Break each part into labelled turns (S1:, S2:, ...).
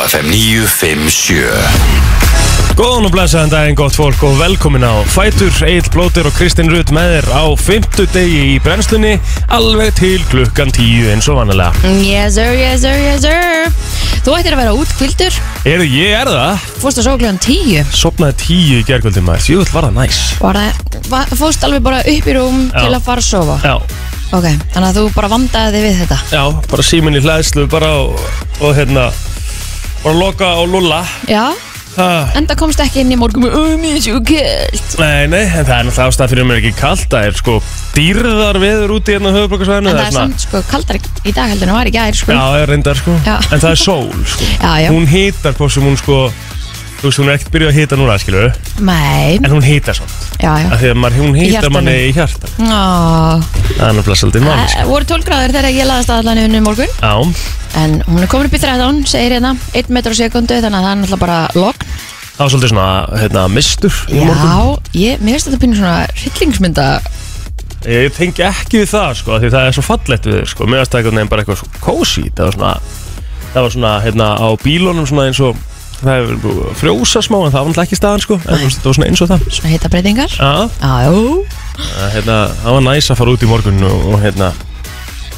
S1: FM 957
S2: Góðan og blæsaðan daginn, gott fólk og velkomin á Fætur, Egil Blóter og Kristinn Rutt með þér á fimmtudegi í brennslunni alveg til klukkan tíu eins og vanalega.
S3: Mm, Yes sir, yes sir, yes sir Þú ættir að vera útkvildur
S2: Er ég er það?
S3: Fórst að sofa klukkan tíu
S2: Sopnaði tíu í gerkvöldum maður, jöfull var það næs.
S3: bara, va- Fórst alveg bara upp í rúm
S2: Já.
S3: til að fara að sofa
S2: Já,
S3: Ok, þannig að þú bara vandaði þig við þetta
S2: já, bara síminn í hlæðslu bara og, og hérna, bara loka og lulla.
S3: Já,
S2: Ah,
S3: enda komst ekki inn í morgun með um í sjúkjöld
S2: nei, nei, en það er náttúrulega ástæð fyrir að mér er ekki kalt, það er sko dýrðar veður úti hérna á höfuborgarsvæðinu.
S3: En það er samt sko kaldar í dag heldur en það var í gær sko
S2: Já, það er reyndar sko
S3: Já.
S2: En það er sól sko
S3: Já, já.
S2: Hún hitar hvort sem hún sko Þú veist, hún er ekkert byrjuð að hita núna, skilu
S3: Nei,
S2: En hún hitar samt
S3: já, já
S2: Af því að maður, hún hitar
S3: hjartanu.
S2: manni í hjartan
S3: Ó,
S2: Það er náttúrulega svolítið máli sko.
S3: það voru 12 gráður þegar ég laðast aðallan um morgun
S2: Já,
S3: En hún er komin upp í 13, segir hérna 1 metr á sekundu, þannig að það er náttúrulega bara logn
S2: það var svolítið svona, hérna, mistur í morgun
S3: Já, ég, mér finnst þetta pínu svona hryllingsmynda
S2: Ég tengi ekki við það, sko af Því það er svo fallegt við, þau, sko Mér aðstækja nefn bara eitthvað svo kósi Það var svona, það var svona, hérna, á bílunum svona eins og Það hefur búið að frjósa smá En það var náttúrulega ekki staðan, sko En þú veist, þetta var svona eins og það
S3: svona hitabreitingar
S2: Já,
S3: Já, jú.
S2: að, hérna, það var næs að fara út í morgun og, og hérna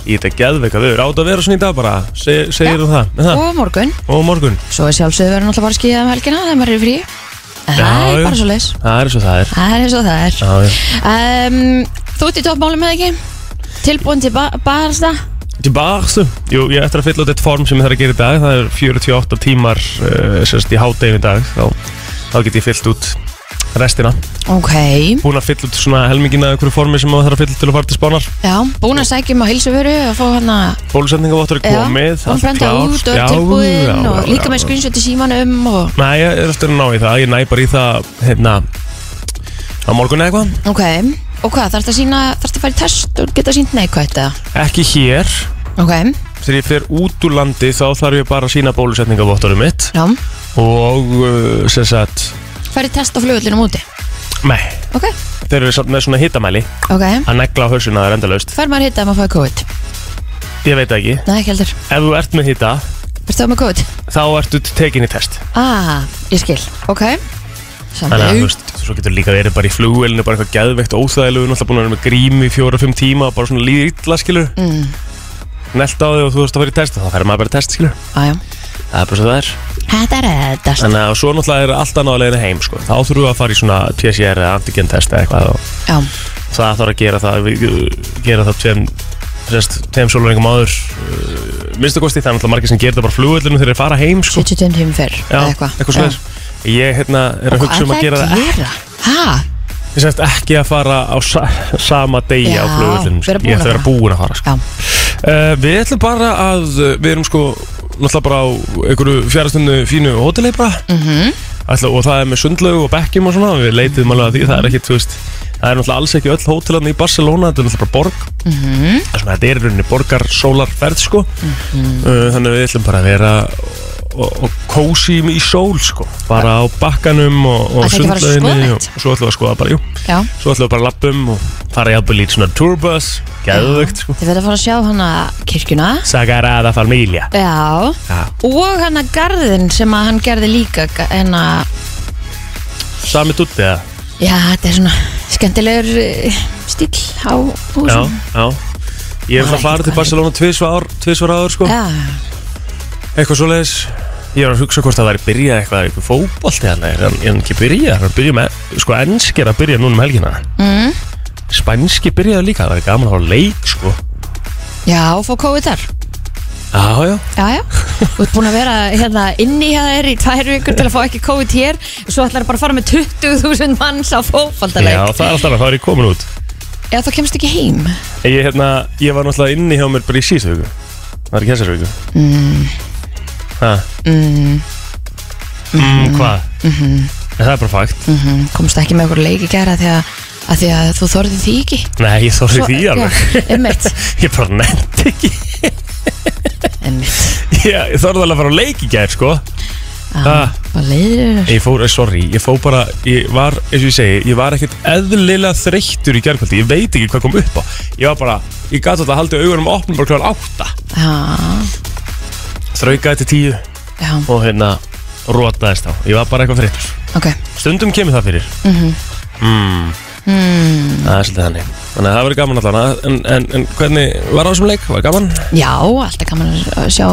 S2: í þetta geðveika við erum átt að vera svona í dag bara Se, segir þú það, með það
S3: og morgun
S2: og morgun
S3: Svo er sjálfsögðu verður náttúrulega bara að skýja um helgina þegar maður er í frí En
S2: Já,
S3: Það er
S2: já.
S3: bara svo leis
S2: það er eins og það er
S3: Það er eins og það er
S2: já, já.
S3: um, Þú ert í toppmálum eða ekki? Tilbúin til ba barsta?
S2: Tilbakstu, jú, ég er eftir að fylla út eitt form sem ég þarf að gera í dag, það er 48 tímar uh, sérst í hádegum í dag þá, þá get ég fyllt út restina,
S3: Ok
S2: búin að fylla út svona helmingina af einhverju formi sem maður þarf að fylla út til að fara til spánar,
S3: Já, búin að sækja um á hilsuvöru og fá hana
S2: bólusendingavottur er komið
S3: hún
S2: allt
S3: brenda
S2: klárt.
S3: út og
S2: Já,
S3: er tilbúin
S2: já,
S3: og
S2: já,
S3: líka
S2: já.
S3: með screenshot í símanum og
S2: Nei, ég er eftir að ná í það, ég næ bara í það hérna á morgun eða eitthvað
S3: Ok, og hvað, þarfst að sína, þarfst að fara í test og geta sínt neikvætt eða?
S2: Ekki hér,
S3: Ok,
S2: þegar ég fer út úr landi þá þarf ég bara að sína bólusetningavottorum mitt
S3: já,
S2: og uh, sem sagt,
S3: fara í test á flugullinum úti
S2: nei,
S3: Ok,
S2: þeir eru samt með svona hittamæli
S3: ok,
S2: að negla á hausuna það er endalaust.
S3: fær maður hitta ef maður fæði COVID?
S2: Ég veit það ekki,
S3: Nei, ekki heldur,
S2: ef þú ert með hitta
S3: ertu þá með COVID?
S2: þá ertu tekinni test.
S3: Ah, ég skil, ok
S2: Þannig að þú
S3: Samlega,
S2: veist, svo getur líka verið bara í flugvelinu, bara eitthvað geðveikt óþægilegu, náttúrulega búin að vera með grími í fjóra-fimm tíma og bara svona líður illa, skilur. Mm. Nelt á þig og þú veist að fara í test, þá fer maður bara í test, skilur.
S3: aðjá
S2: Það er bara svo það er.
S3: Þetta er sko. þetta
S2: Þannig að svo náttúrulega er allt annað að leiðina heim sko. Þá þurfum við að fara í svona PCR eða antigen test eða eitthvað og
S3: Já,
S2: það þarf að gera það við, gera það tveim sérst, tveim sólurringum áður uh, minnstakosti, það er náttúrulega margir sem gerir það bara á flugvöllinu þegar þeir fara heim sko.
S3: 72 tímum fyrr eða eitthvað
S2: eitthvað
S3: Já.
S2: svona Ég hérna, er að
S3: Og
S2: hugsa um að
S3: ætlaði
S2: gera það
S3: að gera? Hæ?
S2: Ég sérst ekki að fara á sa sama degi á
S3: Já,
S2: flugvöllinu sko. Ég ætla
S3: vera búin
S2: að
S3: að
S2: vera
S3: fara.
S2: búin að fara sko.
S3: Já,
S2: Uh, við ætlum bara að, uh, við erum sko náttúrulega bara á einhverju fjárastundu fínu hóteli bara
S3: Mhm.
S2: Ætla, og það er með sundlaug og bekkjum og svona við leitiðum alveg að því, það er ekkit, þú veist það er náttúrulega alls ekki öll hótelan í Barcelona þetta er náttúrulega bara borg mm
S3: Mhm.
S2: -hmm. svona, þetta er í rauninni borgar sólarferð sko uh, þannig að við ætlum bara að vera og, og kósi í sól sko, bara á bakkanum og, og
S3: Ætla ekki að fara að skoða
S2: sundlauginni og,
S3: neitt?
S2: og svo ætlum við að skoða bara, jú
S3: já
S2: svo ætlum við bara að lappum og fara jafnvel í svona tourbus, geðvögt sko
S3: Þið verða að fara að sjá hana kirkjuna
S2: Sagrada Familia
S3: Já
S2: Já.
S3: Og hana garðin sem að hann gerði líka ga- hana,
S2: Sami tutti eða?
S3: Já, þetta er svona skemmtilegur eh, stíll á
S2: Já,
S3: húsum
S2: já Ég hef
S3: Maður
S2: það
S3: veit
S2: farið til
S3: hvað
S2: Barcelona tvisvar ár, tvisvar áður sko
S3: Já,
S2: Eitthvað svoleiðis Ég var að hugsa hvort það væri byrjað eitthvað eitthvað fótbolti hann er hann er hann ekki byrjað, hann er byrjað með sko ennski er að byrja núna um helgina
S3: Mm.
S2: Spænski byrjaði líka, það væri gaman að hafa leik sko
S3: já, fá COVID þar
S2: Já, já,
S3: Já, já, þú ert búin að vera hérna inni hjá þér í tvær vikur til að fá ekki COVID hér og svo ætlar bara að fara með 20.000 manns á fótballtaleik
S2: já það er alltaf að það er komin út
S3: Já, þá kemst ekki heim
S2: Ég, hérna, ég var náttúrulega inni hjá mér bara í síðustu viku Það er ekki þessar viku mm. mm. mm, Hvað? Mm Það er bara fakt
S3: mm komst ekki með okkur leik í gera því að, að, því að þú þorði því ekki
S2: Nei, ég þorði því alveg
S3: Já, einmitt,
S2: Ég bara nefndi ekki
S3: einmitt
S2: Ég þorði alveg að fara á leik í gær sko Ah.
S3: Hvað leiðir
S2: Ég fór, eh, sorry, ég fór bara Ég var, eins og ég segi, ég var ekkert eðlilega þreyttur í gærkvöldi Ég veit ekki hvað kom upp á Ég var bara, ég gat þetta að haldi augunum opnum bara kláðan átta
S3: Já,
S2: Þraukaði til tíu
S3: Já,
S2: og hérna rótaðist á ég var bara eitthvað frittur
S3: ok
S2: stundum kemur það fyrir mm
S3: Mhm.
S2: -hmm. mm. það er svolítið þannig þannig að það verið gaman allan en, en, en hvernig var á þessum leik, var gaman?
S3: Já, alltaf kannan að sjá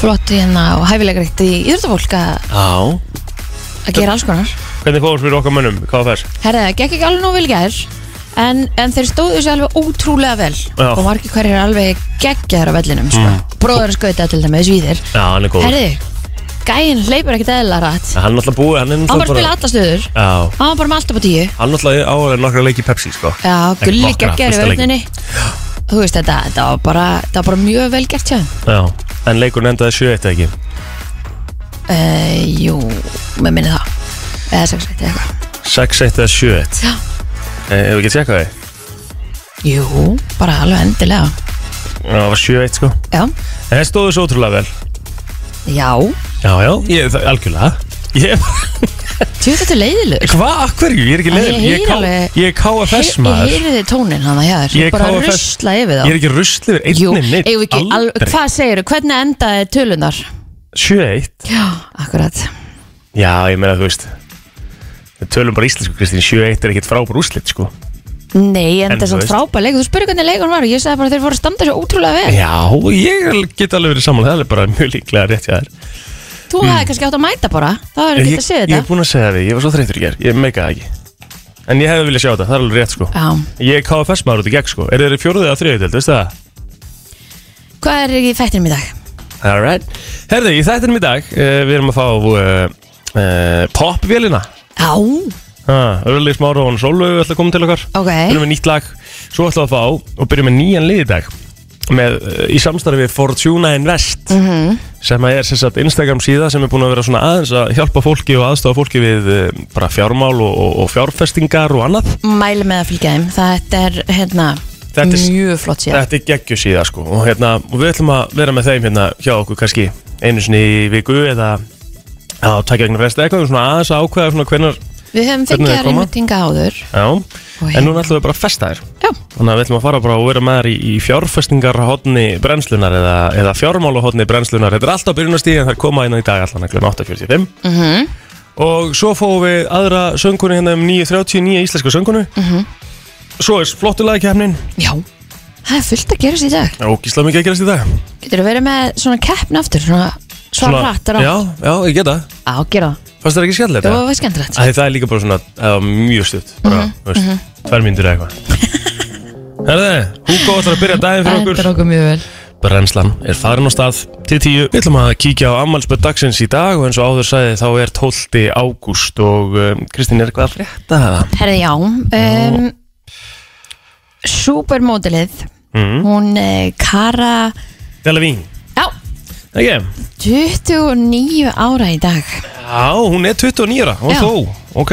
S3: flott hérna og hæfilegrikt í íþjóttafólk að
S2: já
S3: að gera alls konar
S2: hvernig fóður fyrir okkar mönnum, hvað var þess?
S3: Herða, það gekk ekki alveg nóg vel í gær en, en þeir stóðu sér alveg ótrúlega vel
S2: Já. Mm.
S3: og margir hverjir er alveg geggjaður á vellinum sko. bróðurinn skauta til dæmis víðir
S2: já, hann er góð
S3: Herði, gæinn hleypur ekkert eðla rætt
S2: hann er náttúrulega búið, hann er
S3: Hann bara
S2: náttúrulega
S3: spila alla stöður
S2: já,
S3: Hann var bara með allt upp á tíu
S2: hann náttúrulega á alveg nokkra leik í Pepsi sko.
S3: Já,
S2: Ekki
S3: gulli
S2: nokkra,
S3: geggjaður í
S2: fyrsta leikinn.
S3: vörninni Þú veist þetta, þetta var bara, þetta var bara mjög vel gert hjá þeim
S2: já, en leikurinn endaði 7-1 eða ekki
S3: uh, Jú, með minni það Eða 6-1 eða eitthvað
S2: 6-1 eða 7-1
S3: Já.
S2: Eh, hefur ekki tjekkað því?
S3: Jú, bara alveg endilega
S2: Já, það var 7-1 sko
S3: Já,
S2: en það stóðu svo ótrúlega vel
S3: já,
S2: já, já, ég, það, algjörlega ég,
S3: tjú þetta er leiðilegur
S2: hvað, af hverju, ég er ekki
S3: Æ, ég
S2: leiðin ég, er
S3: heyri
S2: K-
S3: alveg-
S2: ég er KFS
S3: Ég
S2: maður
S3: heyri þið tónin hann að hjá þér
S2: Ég
S3: Þú
S2: er
S3: bara
S2: KFS.
S3: rusla yfir
S2: Ég er
S3: þá
S2: ekki ruslið við
S3: Jú,
S2: einni neitt
S3: eigum við ekki, al,
S2: Aldrei
S3: hvað segirðu, hvernig endaði tölunar?
S2: 7-1
S3: Já, akkurat
S2: Já, ég meina þú veist Við tölum bara íslensku Kristín 7-1 er ekkit frábær úrslit sko
S3: Nei, en
S2: En
S3: það er
S2: þú
S3: svona
S2: veist.
S3: frábæð leikur Þú spurði hvernig leikur var og Ég sagði bara að þeir voru að standa sér ótrúlega vel
S2: Já, ég get alveg verið saman Það er bara mjög líklega rétt hjá þér
S3: Þú hefði kannski átt að mæta bara Það
S2: Mm. Ég,
S3: hefur ekki að segja
S2: ég er
S3: þetta
S2: búin að segja því, ég var svo þreytur í ger Ég meika það ekki En ég hefði viljað sjá þetta, það er alveg rétt sko
S3: Já,
S2: Ég er KFS maður út í gegn sko Er þeir fjóruðið að þriðið, veistu það?
S3: hvað er í þættinum í dag?
S2: Alright Herðu, í þættinum í dag uh, Við erum að fá uh, uh, popvélina
S3: Já,
S2: Örlið smára og Sólvögu ætla að koma til okkar
S3: ok
S2: byrjum með nýtt lag, svo ætlum við að fá og byrjum með nýjan lið í dag með, uh, í samstarfi við Fortuna Invest sem að er sem sagt, Instagram síða sem er búin að vera svona aðeins að hjálpa fólki og aðstofa fólki við uh, bara fjármál og, og, og fjárfestingar og annað
S3: Mæli með að fylgja þeim Þetta er hérna
S2: Þetta er-
S3: mjög flott síðan
S2: þetta er geggju síða sko og, hérna, og við ætlum að vera með þeim hérna hjá okkur kannski einu sinni í viku eða á takja vegna fresta eitthvað svona aðeins að ákveða svona hvernar
S3: Við höfum
S2: Hvernig
S3: fengið
S2: þau
S3: að
S2: koma?
S3: reymutinga áður
S2: já,
S3: Og
S2: en
S3: hérna.
S2: núna ætlum við bara að festa þér
S3: Já,
S2: Þannig að við ætlum að fara bara og vera með þær í, í fjárfestingarhotni brennslunar eða, eða fjármálahotni brennslunar. Þetta er alltaf byrjunarstíð en þær koma inn í dag allan að glöma 8.45.
S3: Mhm.
S2: Og svo fáum við aðra söngunu hérna um 9.30, nýja íslenska söngunu.
S3: Mhm.
S2: Svo er flottulagakefnin
S3: já Það er fullt að gerast í dag
S2: og gísla mikið að gerast í dag.
S3: Getur verið með svona keppn aftur Svona svara hratt er á
S2: Já, já, ég geta.
S3: Á, gera það
S2: Fannst þér ekki skellilegt?
S3: Þú
S2: eða?
S3: var skemmtilegt
S2: Æ, það er líka bara svona, það var mjög stutt bara,
S3: Mhm,
S2: þú veist, tvær myndir eða eitthvað Herði, Hugo ætlar að byrja daginn fyrir okkur
S3: Endar okkur mjög vel
S2: Brennslan er farin á stað til tíu. Við ætlum að kíkja á ammalsböð dagsins í dag og eins og áður sagði þá er 12. ágúst og um, Kristín er eitthvað að frétta það.
S3: Herði, já um, Supermodelið
S2: Mm.
S3: Hún eh, Kara
S2: Delavín.
S3: Já,
S2: Ekki?
S3: 29 ára í dag
S2: Já, hún er 29 ára. Hún
S3: Já.
S2: þó. Ok.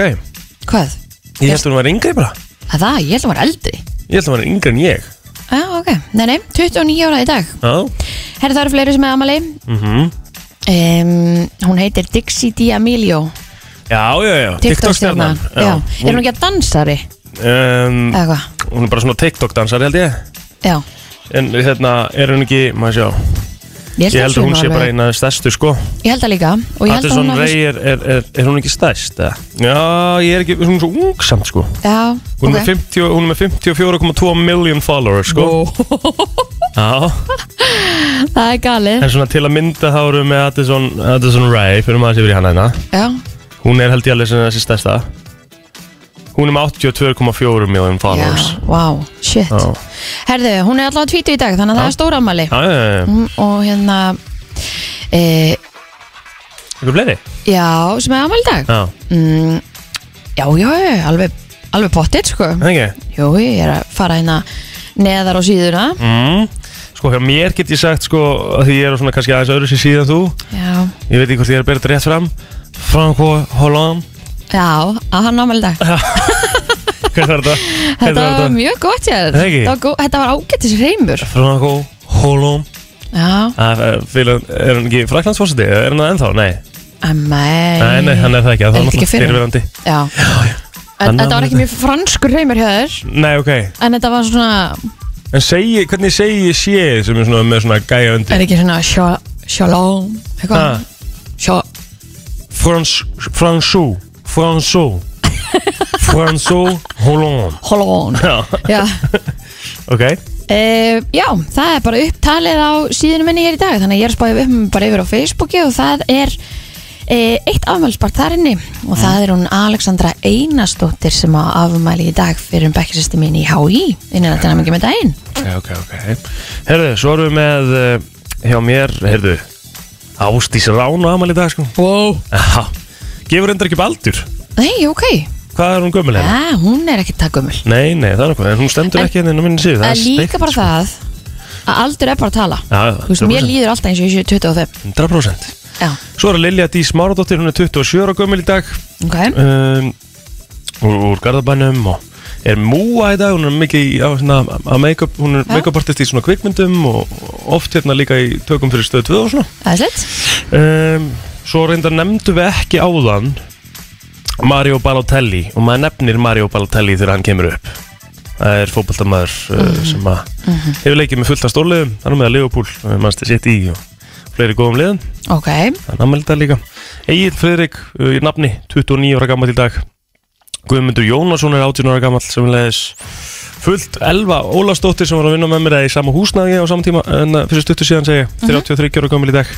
S3: Hvað?
S2: Ég held að hún var yngri bara.
S3: Að það, ég held að hún var eldri
S2: Ég held að hún var yngri en ég.
S3: Já, ok, nei, nei, 29 ára í dag
S2: Já.
S3: Herði, það eru fleiri sem er amali
S2: Mm -hmm.
S3: Mhm. um, Hún heitir Dixie D'Amelio
S2: Já, já, já.
S3: TikTok-stjarnan Já, er hún Mm.
S2: Hún,
S3: ekki að dansari?
S2: um,
S3: Eða hvað?
S2: hún er bara svona TikTok-dansar held ég.
S3: Já,
S2: En hérna, er hún ekki, maður sjá, ég held að hún sé
S3: var
S2: bara
S3: alveg-
S2: eina stærstu sko.
S3: Ég held að líka Og ég held að
S2: Patterson
S3: hún hafi-
S2: Ray er, er, er, er hún ekki stæst eða? Já, ég er ekki, hún er svo ung samt sko
S3: Já,
S2: Hún er með 50 hún er með 54,2 million followers sko Já,
S3: Það er galið
S2: en svona til að mynda þá erum við með Addison, Addison Ray fyrir maður sem verið hann aðeina
S3: Já,
S2: Hún er held ég alveg sem þessi stærsta Hún er með 82,4 million
S3: já,
S2: followers
S3: wow, shit
S2: Já,
S3: Herðu, hún er allavega tvítu í dag Þannig að það er stóra amali
S2: já, já, já,
S3: Og hérna e,
S2: ykkur fleiri?
S3: Já, sem er amali í dag
S2: Já,
S3: mm, Já, já, já, alveg, alveg pottitt sko.
S2: það ekki?
S3: Jú, ég er að fara hérna neðar á síðuna
S2: Mm. Sko, hjá mér get ég sagt sko, að því ég er á svona kannski aðeins öðru sér síðan þú
S3: Já,
S2: Ég veit ekki hvort ég er að bera þetta rétt fram Franco Hollande
S3: já að hann ámæli dag
S2: Hvað var þetta? Hvað
S3: Þetta var mjög gott ég
S2: Það ekki?
S3: Þetta var gó- Þetta var ágættis reymur
S2: Franco Holum
S3: Já,
S2: Fyrir, Ah, eh, er hann ekki fræklandsforsiti? Er hann það ennþá? Nei,
S3: amæl
S2: nei, nei, hann Eh, er það ekki Það
S3: Er
S2: er
S3: þetta ekki
S2: náttúrulega
S3: fyrir hann?
S2: fyrirverandi
S3: Já, en
S2: Hann
S3: þetta var
S2: afmæli
S3: ekki mjög franskur reymur hjá þér
S2: Nei, ok
S3: En þetta var svona,
S2: En segi, hvernig segi ég sé sem er svona með svona gæja undir
S3: er ekki svona sjá- Shalom,
S2: Ha,
S3: eitthvað Sjá,
S2: Eh. Frans- François François François Hollande
S3: hold on
S2: Já, Eh,
S3: Já,
S2: ok
S3: e, já það er bara upptalið á síðunum minni hér í dag Þannig að ég er spáðið upp bara yfir á Facebooki og það er e, eitt afmælspart þar inni Og það er hún Alexandra Einarsdóttir sem á afmæli í dag fyrir um bekkisestir mín í HÍ Innan að dæna mikið með daginn
S2: Ok, ok, ok Herðu, svo erum við með uh, hjá mér, herðu Ástís Rán og Amal í dag, sko
S3: Wow
S2: Aha. Gefur endur ekki baldur
S3: Nei, ok
S2: Hvað er hún gömul hérna? henni?
S3: Já, hún er ekki það gömul
S2: Nei, nei, það er eitthvað, en hún stendur
S3: En-
S2: ekki henni inn á minni síðu
S3: Það er líka bara það að aldur er bara að tala
S2: Já, já,
S3: Þú veist, mér
S2: 100%.
S3: líður alltaf eins og ég sé 25
S2: 100%
S3: Já,
S2: Svo er Lilja Dís Máradóttir, hún er 27 ára gömul í dag
S3: ok
S2: um, úr, úr Garðabænum og er múa í dag, hún er mikið í- á, svona, að make-up, hún er
S3: Já.
S2: make-up artist í svona kvikmyndum og og oft hérna líka í tökum fyrir stöð 2 og svona
S3: Æðislegt
S2: um, Svo reyndar nefndu við ekki áðan Mario Balotelli og maður nefnir Mario Balotelli þegar hann kemur upp Það er fótboltamaður uh, sem að hefur leikið með fullt af stórliðum þannig með að Leopold, uh, mannstu sitt í og fleiri góðum liðum,
S3: Ok,
S2: þannig að melda líka Egil Friðrik uh, í nafni, 29 ára gammal í dag Guðmundur Jónasson er 18 ára gammal sem leðis fullt 11 Ólafsdóttir sem var að vinna með mér eða í sama húsnaði á sama tíma en uh, fyrir stuttu síðan segi, ég, 33 ára gammal í dag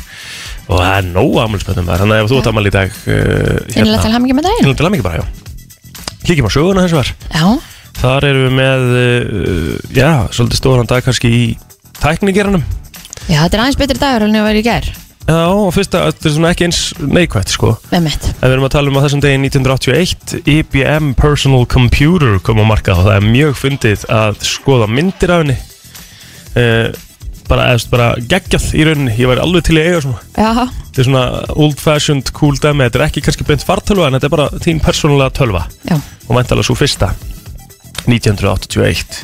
S2: og það er nóg afmælspennum þar þannig að ef þú ert afmæl í dag uh,
S3: finnilega til hammingi með um daginn
S2: Innlega til hammingi bara, já Kíkjum á söguna hins vegar
S3: Já,
S2: Þar erum við með, uh, já, svolítið stóran dag kannski í tæknigeranum
S3: já, þetta er aðeins betri dagur en ég var í gær
S2: Já, og fyrsta, þetta er svona ekki eins neikvætt, sko
S3: Með mitt
S2: En við erum að tala um að þessum degi 1981 IBM Personal Computer kom á markað og það er mjög fundið að skoða myndir af henni uh, bara, eða, þú veist, bara geggjað í rauninni, ég væri alveg til í að eiga svona
S3: Já,
S2: þetta er svona old fashioned cool dæmi þetta er ekki kannski beint fartölva en þetta er bara þín persónulega tölva
S3: já
S2: og mæntalega svo fyrsta 1981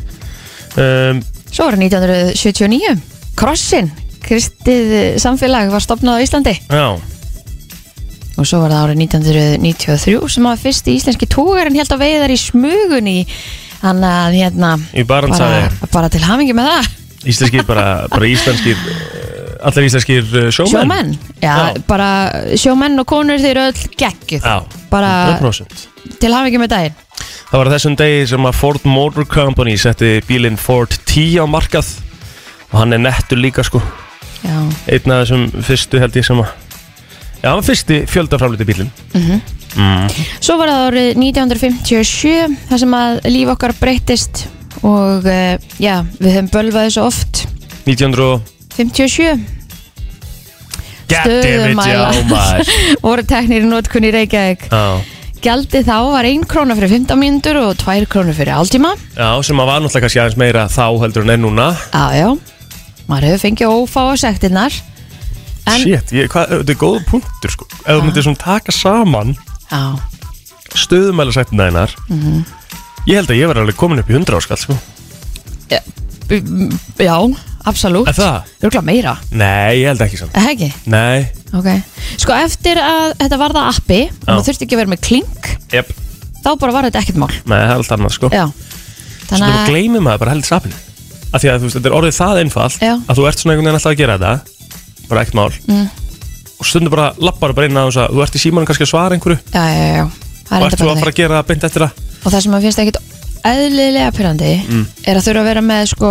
S2: um,
S3: Svo var 1979 Krossin, kristið eh, samfélag var stopnað á Íslandi
S2: já,
S3: og svo var það árið 1993 sem að fyrst íslenski tógarinn held að veiðar í smugun í hann að hérna
S2: í
S3: bara,
S2: barandsaði
S3: bara til hamingi með það
S2: íslenskir bara, bara íslenskir eh, allir íslenskir eh, sjómenn
S3: Sjómenn, já,
S2: Já.
S3: bara sjómenn og konur þeir eru öll geggjuð
S2: já,
S3: Bara-
S2: 100%
S3: til hafa ekki með daginn
S2: Það var á þessum degi sem að Ford Motor Company setti bílinn Ford T á markað og hann er nettur líka sko
S3: Já,
S2: einn af þessum fyrstu held ég sem að Já, hann var fyrsti fjöldaframliti bílinn
S3: svo var það árið 1957 þar sem að líf okkar breyttist og uh, já, við höfum bölvað þessu oft
S2: 1900 og
S3: 57 Stöðumæla.
S2: já maður
S3: voru teknir í notkunni í Reykjavík
S2: Já,
S3: Gjaldið þá var 1 krónu fyrir 15 mínútur og 2 krónu fyrir áltíma
S2: já sem að var náttúrulega kannski aðeins meira þá heldur en enn núna
S3: Já, já, maður hefur fengið ófáa sektinnar En,
S2: Shit, ég, hvað, þetta er góð punktur sko Ef þú myndir svona taka saman
S3: já,
S2: stöðumæla sættina þeinar
S3: Mhm.
S2: Ég held að ég var alveg komin upp í 100 áskall sko
S3: Mm, já, absolutt
S2: Er það?
S3: Rúkla meira,
S2: Nei, ég held ekki samt
S3: er það ekki?
S2: Nei,
S3: Ok, sko eftir að þetta varða appi og
S2: Já.
S3: maður þurfti ekki að vera með klink
S2: jep,
S3: þá bara var þetta ekkert mál
S2: nei, það er allt annað sko
S3: Já,
S2: Svo
S3: þannig
S2: bara
S3: að
S2: gleymir maður bara heldur safinu Af því að þú veist, þetta er orðið það einfalt
S3: Já.
S2: Að þú ert svona einhvern veginn alltaf að gera þetta Bara ekkert mál mm. Og stundum bara lappar bara inn að þú ert í símanum kannski að svara einhverju
S3: já, já, já, já. Það
S2: Og
S3: er
S2: ert
S3: enda
S2: þú
S3: bara
S2: að fara
S3: þannig
S2: að gera það beint eftir það
S3: og það sem maður finnst ekkert eðlilega pyrrandi
S2: Mm.
S3: er að þurfa að vera með sko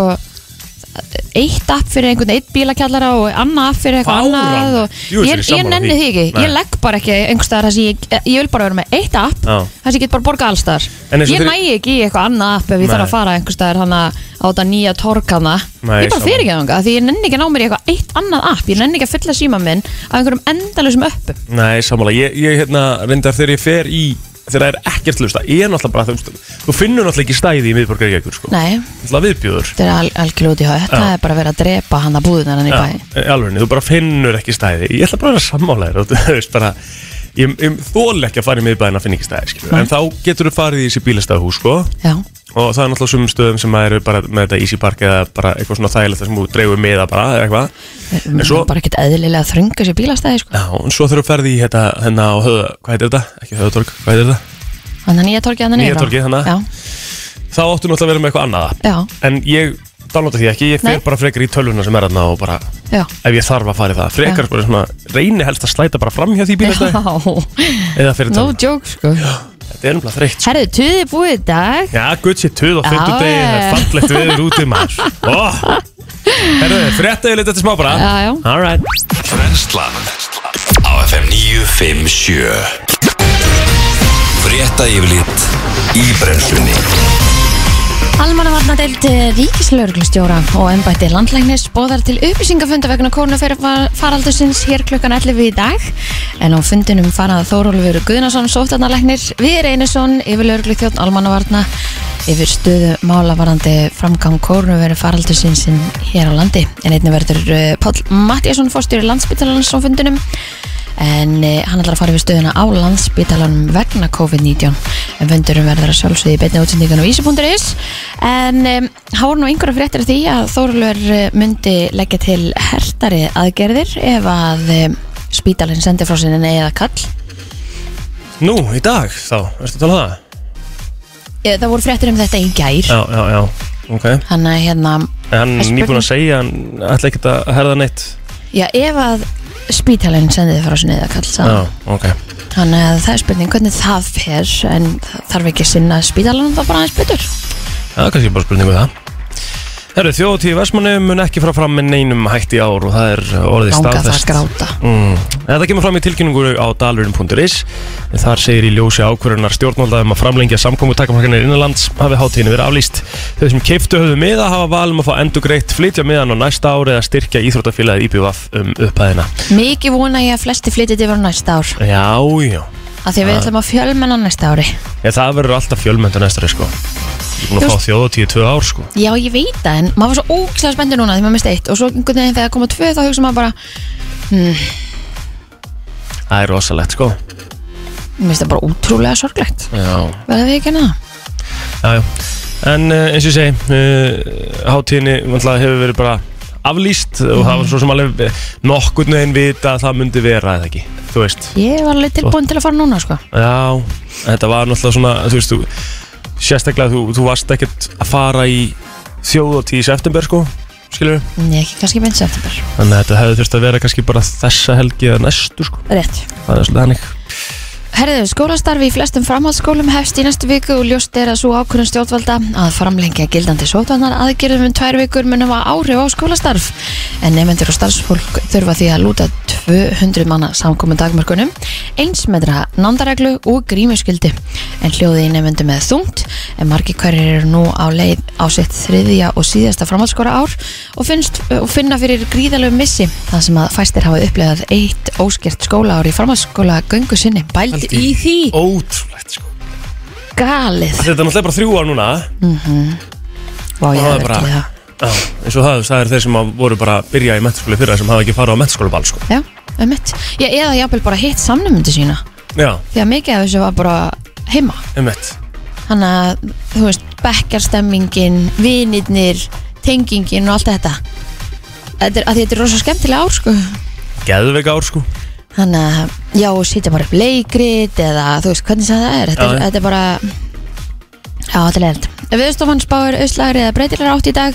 S3: eitt app fyrir einhvern eitt bílakjallara og annað app fyrir eitthvað
S2: Fáránlegt.
S3: annað og
S2: Jú, þetta er
S3: ég,
S2: ég
S3: ég
S2: sammála
S3: nenni
S2: því.
S3: því ekki, ég
S2: Nei.
S3: legg bara ekki einhverstaðar þess að ég, ég vil bara vera með eitt app
S2: Já.
S3: þess að ég get bara borga allstaðar
S2: En eins og
S3: ég
S2: þegar-
S3: næ ekki í eitthvað annað app ef ég
S2: Nei.
S3: þarf að fara einhverstaðar hana á þetta nýja torkana
S2: Nei,
S3: ég bara
S2: sammála.
S3: fer ekki þangað því ég nenni ekki að ná mér í eitthvað eitt annað app ég nenni ekki að fylla síma minn af einhverjum endalusum uppum
S2: Nei, sammála, ég, ég hérna reyndar þegar ég fer í Þegar það er ekkert hlusta, ég er náttúrulega bara þú veist, Þú finnur náttúrulega ekki stæði í miðborgar í ekkur sko
S3: nei,
S2: Náttúrulega viðbjóður
S3: þetta er al algjörlega út í höll það er bara verið að drepa hana búðunar hann í bæ
S2: Alveg, þú bara finnur ekki stæði Ég ætla bara að vera sammála þér þú veist, bara, Ég, ég þóla ekki að fara í miðbæðin að finna ekki stæði skilur. En þá getur þú farið í þessi bílastæðhús sko,
S3: já,
S2: og það er náttúrulega sumum stöðum sem maður eru bara með þetta Easy Park eða bara eitthvað svona þægilegt þar sem þú dreifur miða bara eða eitthvað
S3: en
S2: svo-
S3: bara ekkert eðlilega að þrönga sér bílastæði sko.
S2: Já, og svo þurfum ferði í hérna, hérna á höða, hvað heitir þetta? Ekki höðatorg, hvað heitir þetta?
S3: þannig að nýja torkið hann
S2: Nýja torgið, þannig að-
S3: já,
S2: Þá áttu náttúrulega að vera með eitthvað annað
S3: já,
S2: en ég downloada því ekki, ég fer
S3: Nei.
S2: bara frekar í tölvuna sem er þarna og bara
S3: Já.
S2: ef ég þarf að fara í það, frekar bara svona reyni helst að slæta bara fram hjá því bílastæði eða fyrir
S3: no
S2: tölvuna,
S3: joke sko
S2: þetta er umlað þreytt sko.
S3: Herðu, tuði búið í dag
S2: Já, gutt sér töð á
S3: Já,
S2: fyrtu degi, það
S3: já.
S2: er fallegt veður úti maður oh. Herðu, frétta yfir litið til smá bara
S3: Já, já.
S2: All right.
S1: Brenslan Á FM 957 Frétta yfirlit í brennslunni
S3: Almannavarnadeild ríkislauruglustjóra og embætti landlæknis bóðar til upplýsingafunda vegna kórnufaraldusins hér klukkan 11 í dag en á fundinum farað Þórólfur Guðnason, sóttarnalæknir, Viðir Einarsson yfir lauruglutjón almannavarna yfir stöðu málavarandi framgang kórnuveru faraldusins hér á landi en einnig verður eh, Páll Mattiasson fórstjóri landsbytalans á fundinum en eh, hann ætlar að fara yfir stöðuna á landsbytalanum vegna COVID-19 en fundurum verður að sjálfsögði betna útsendingan á vísi.is en um, hárn og yngur fréttir af því að Þórlur myndi leggja til hertari aðgerðir ef að um, spítalinn sendi frá sinni eða kall
S2: Nú, í dag þá, erstu að tala um það?
S3: Eh, það voru fréttir um þetta í gær
S2: Já, já, já, ok
S3: hann að hérna,
S2: En hann
S3: Það
S2: er
S3: er
S2: nýbúin að segja, hann ætla ekkert að herða neitt
S3: já ef að spítalinn sendiði frá sinni eða kall
S2: Já,
S3: sagði hann.
S2: ok
S3: þannig að það er spurning hvernig það fer en það þarf ekki að sinna spítalanum það bara aðeins betur
S2: Já, kannski bara spurningu það Herru, þjóðtíð Vestmanni mun ekki fara fram með neinum hætti í ár og það er orðið
S3: langa það að
S2: staðfest
S3: gráta
S2: Mm. Þetta kemur fram í tilkynningu á dalurinn.is en þar segir í ljósi ákvörunar stjórnvalda um að framlengja samkomutakafrækkanir innanlands hafi hátíðinu verið aflýst. Þau sem keiftu höfðu miða hafa valum að fá endur greitt flytja miðan á næsta ári eða styrkja íþróttafélagið IPVF um upphæðina.
S3: Mikið vona ég að flesti flytjið yfir á næsta ár
S2: Já, já.
S3: Af því að við ætlum að fjölmenna næsta ári
S2: Ég, það verður alltaf fjölmönda næstari sko. Ég er búin að
S3: Þú-
S2: fá þjóðatíð tvö ár sko.
S3: Já, ég veit það, en maður var svo ókslega spenntur núna Því maður misti eitt Og svo einhvern veginn þegar koma tvö þá hugsa maður bara
S2: Það er rosalegt sko.
S3: Mér finnst það bara útrúlega sorglegt
S2: Já.
S3: Verða við ekki hana það?
S2: Já, já. En uh, eins og ég segi, uh, hátíðinni vantlega, hefur verið bara aflýst og það var svo sem alveg nokkurn veginn vita að það myndi vera eða ekki, þú veist.
S3: Ég var alveg tilbúin til að fara núna, sko
S2: Já, þetta var náttúrulega svona, þú veist, þú, sérstaklega þú, þú varst ekkert að fara í þjóðotíð í september, sko, skilur við.
S3: Ég ekki kannski mynd september
S2: Þannig að þetta hefði þurft að vera kannski bara þessa helgi eða næstu, sko.
S3: Rétt
S2: Það er svolítið hannig.
S3: Herðu, skólastarfi í flestum framhaldsskólum hefst í næstu viku og ljóst er að svo ákvörðum stjórnvalda að framlengja gildandi sótvarnar aðgerðum um tvær vikur munum að áhrif á skólastarf. En nefnendur og starfsfólk þurfa því að lúta 200 manna samkomin dagmörkunum, einsmetra nándareglu og grímuskyldi. En hljóði í nefnendu með þungt, en margi hverjir eru nú á leið á sitt þriðja og síðasta framhaldsskóra ár og, finnst, og finna fyrir gríðalegu missi þar sem að fæstir hafa upplegað eitt óskert skólaár í framhaldsskóla göngu sinni. Bældi
S2: Pældi
S3: í því
S2: Ótrúlegt, sko.
S3: galið
S2: Þetta er náttúrulega bara þrjú ár núna,
S3: Vá, ég
S2: Það
S3: hefði
S2: er bara-
S3: ekki það
S2: Já, eins og það, það er þeir sem að voru bara að byrja í mentaskóli fyrra sem hafa ekki farið á mentaskólaball sko.
S3: Já, um mitt Ég eða jafnvel bara hitt samnumundi sína
S2: Já,
S3: Því að mikið af þessu var bara heima
S2: um
S3: Þannig að, þú veist, bekkjarstemmingin, vinirnir, tengingin og allt þetta Þetta er, að þetta er rosa skemmtilega ár, sko
S2: Geðveik ár sko
S3: Þannig að, já, og sitja bara upp leikrit eða, þú veist, hvernig sem það er Þetta,
S2: Já,
S3: er,
S2: já.
S3: þetta er bara Já, þetta er leiðilegt Viðstofan spáir auðslagri eða breytilegar átt í dag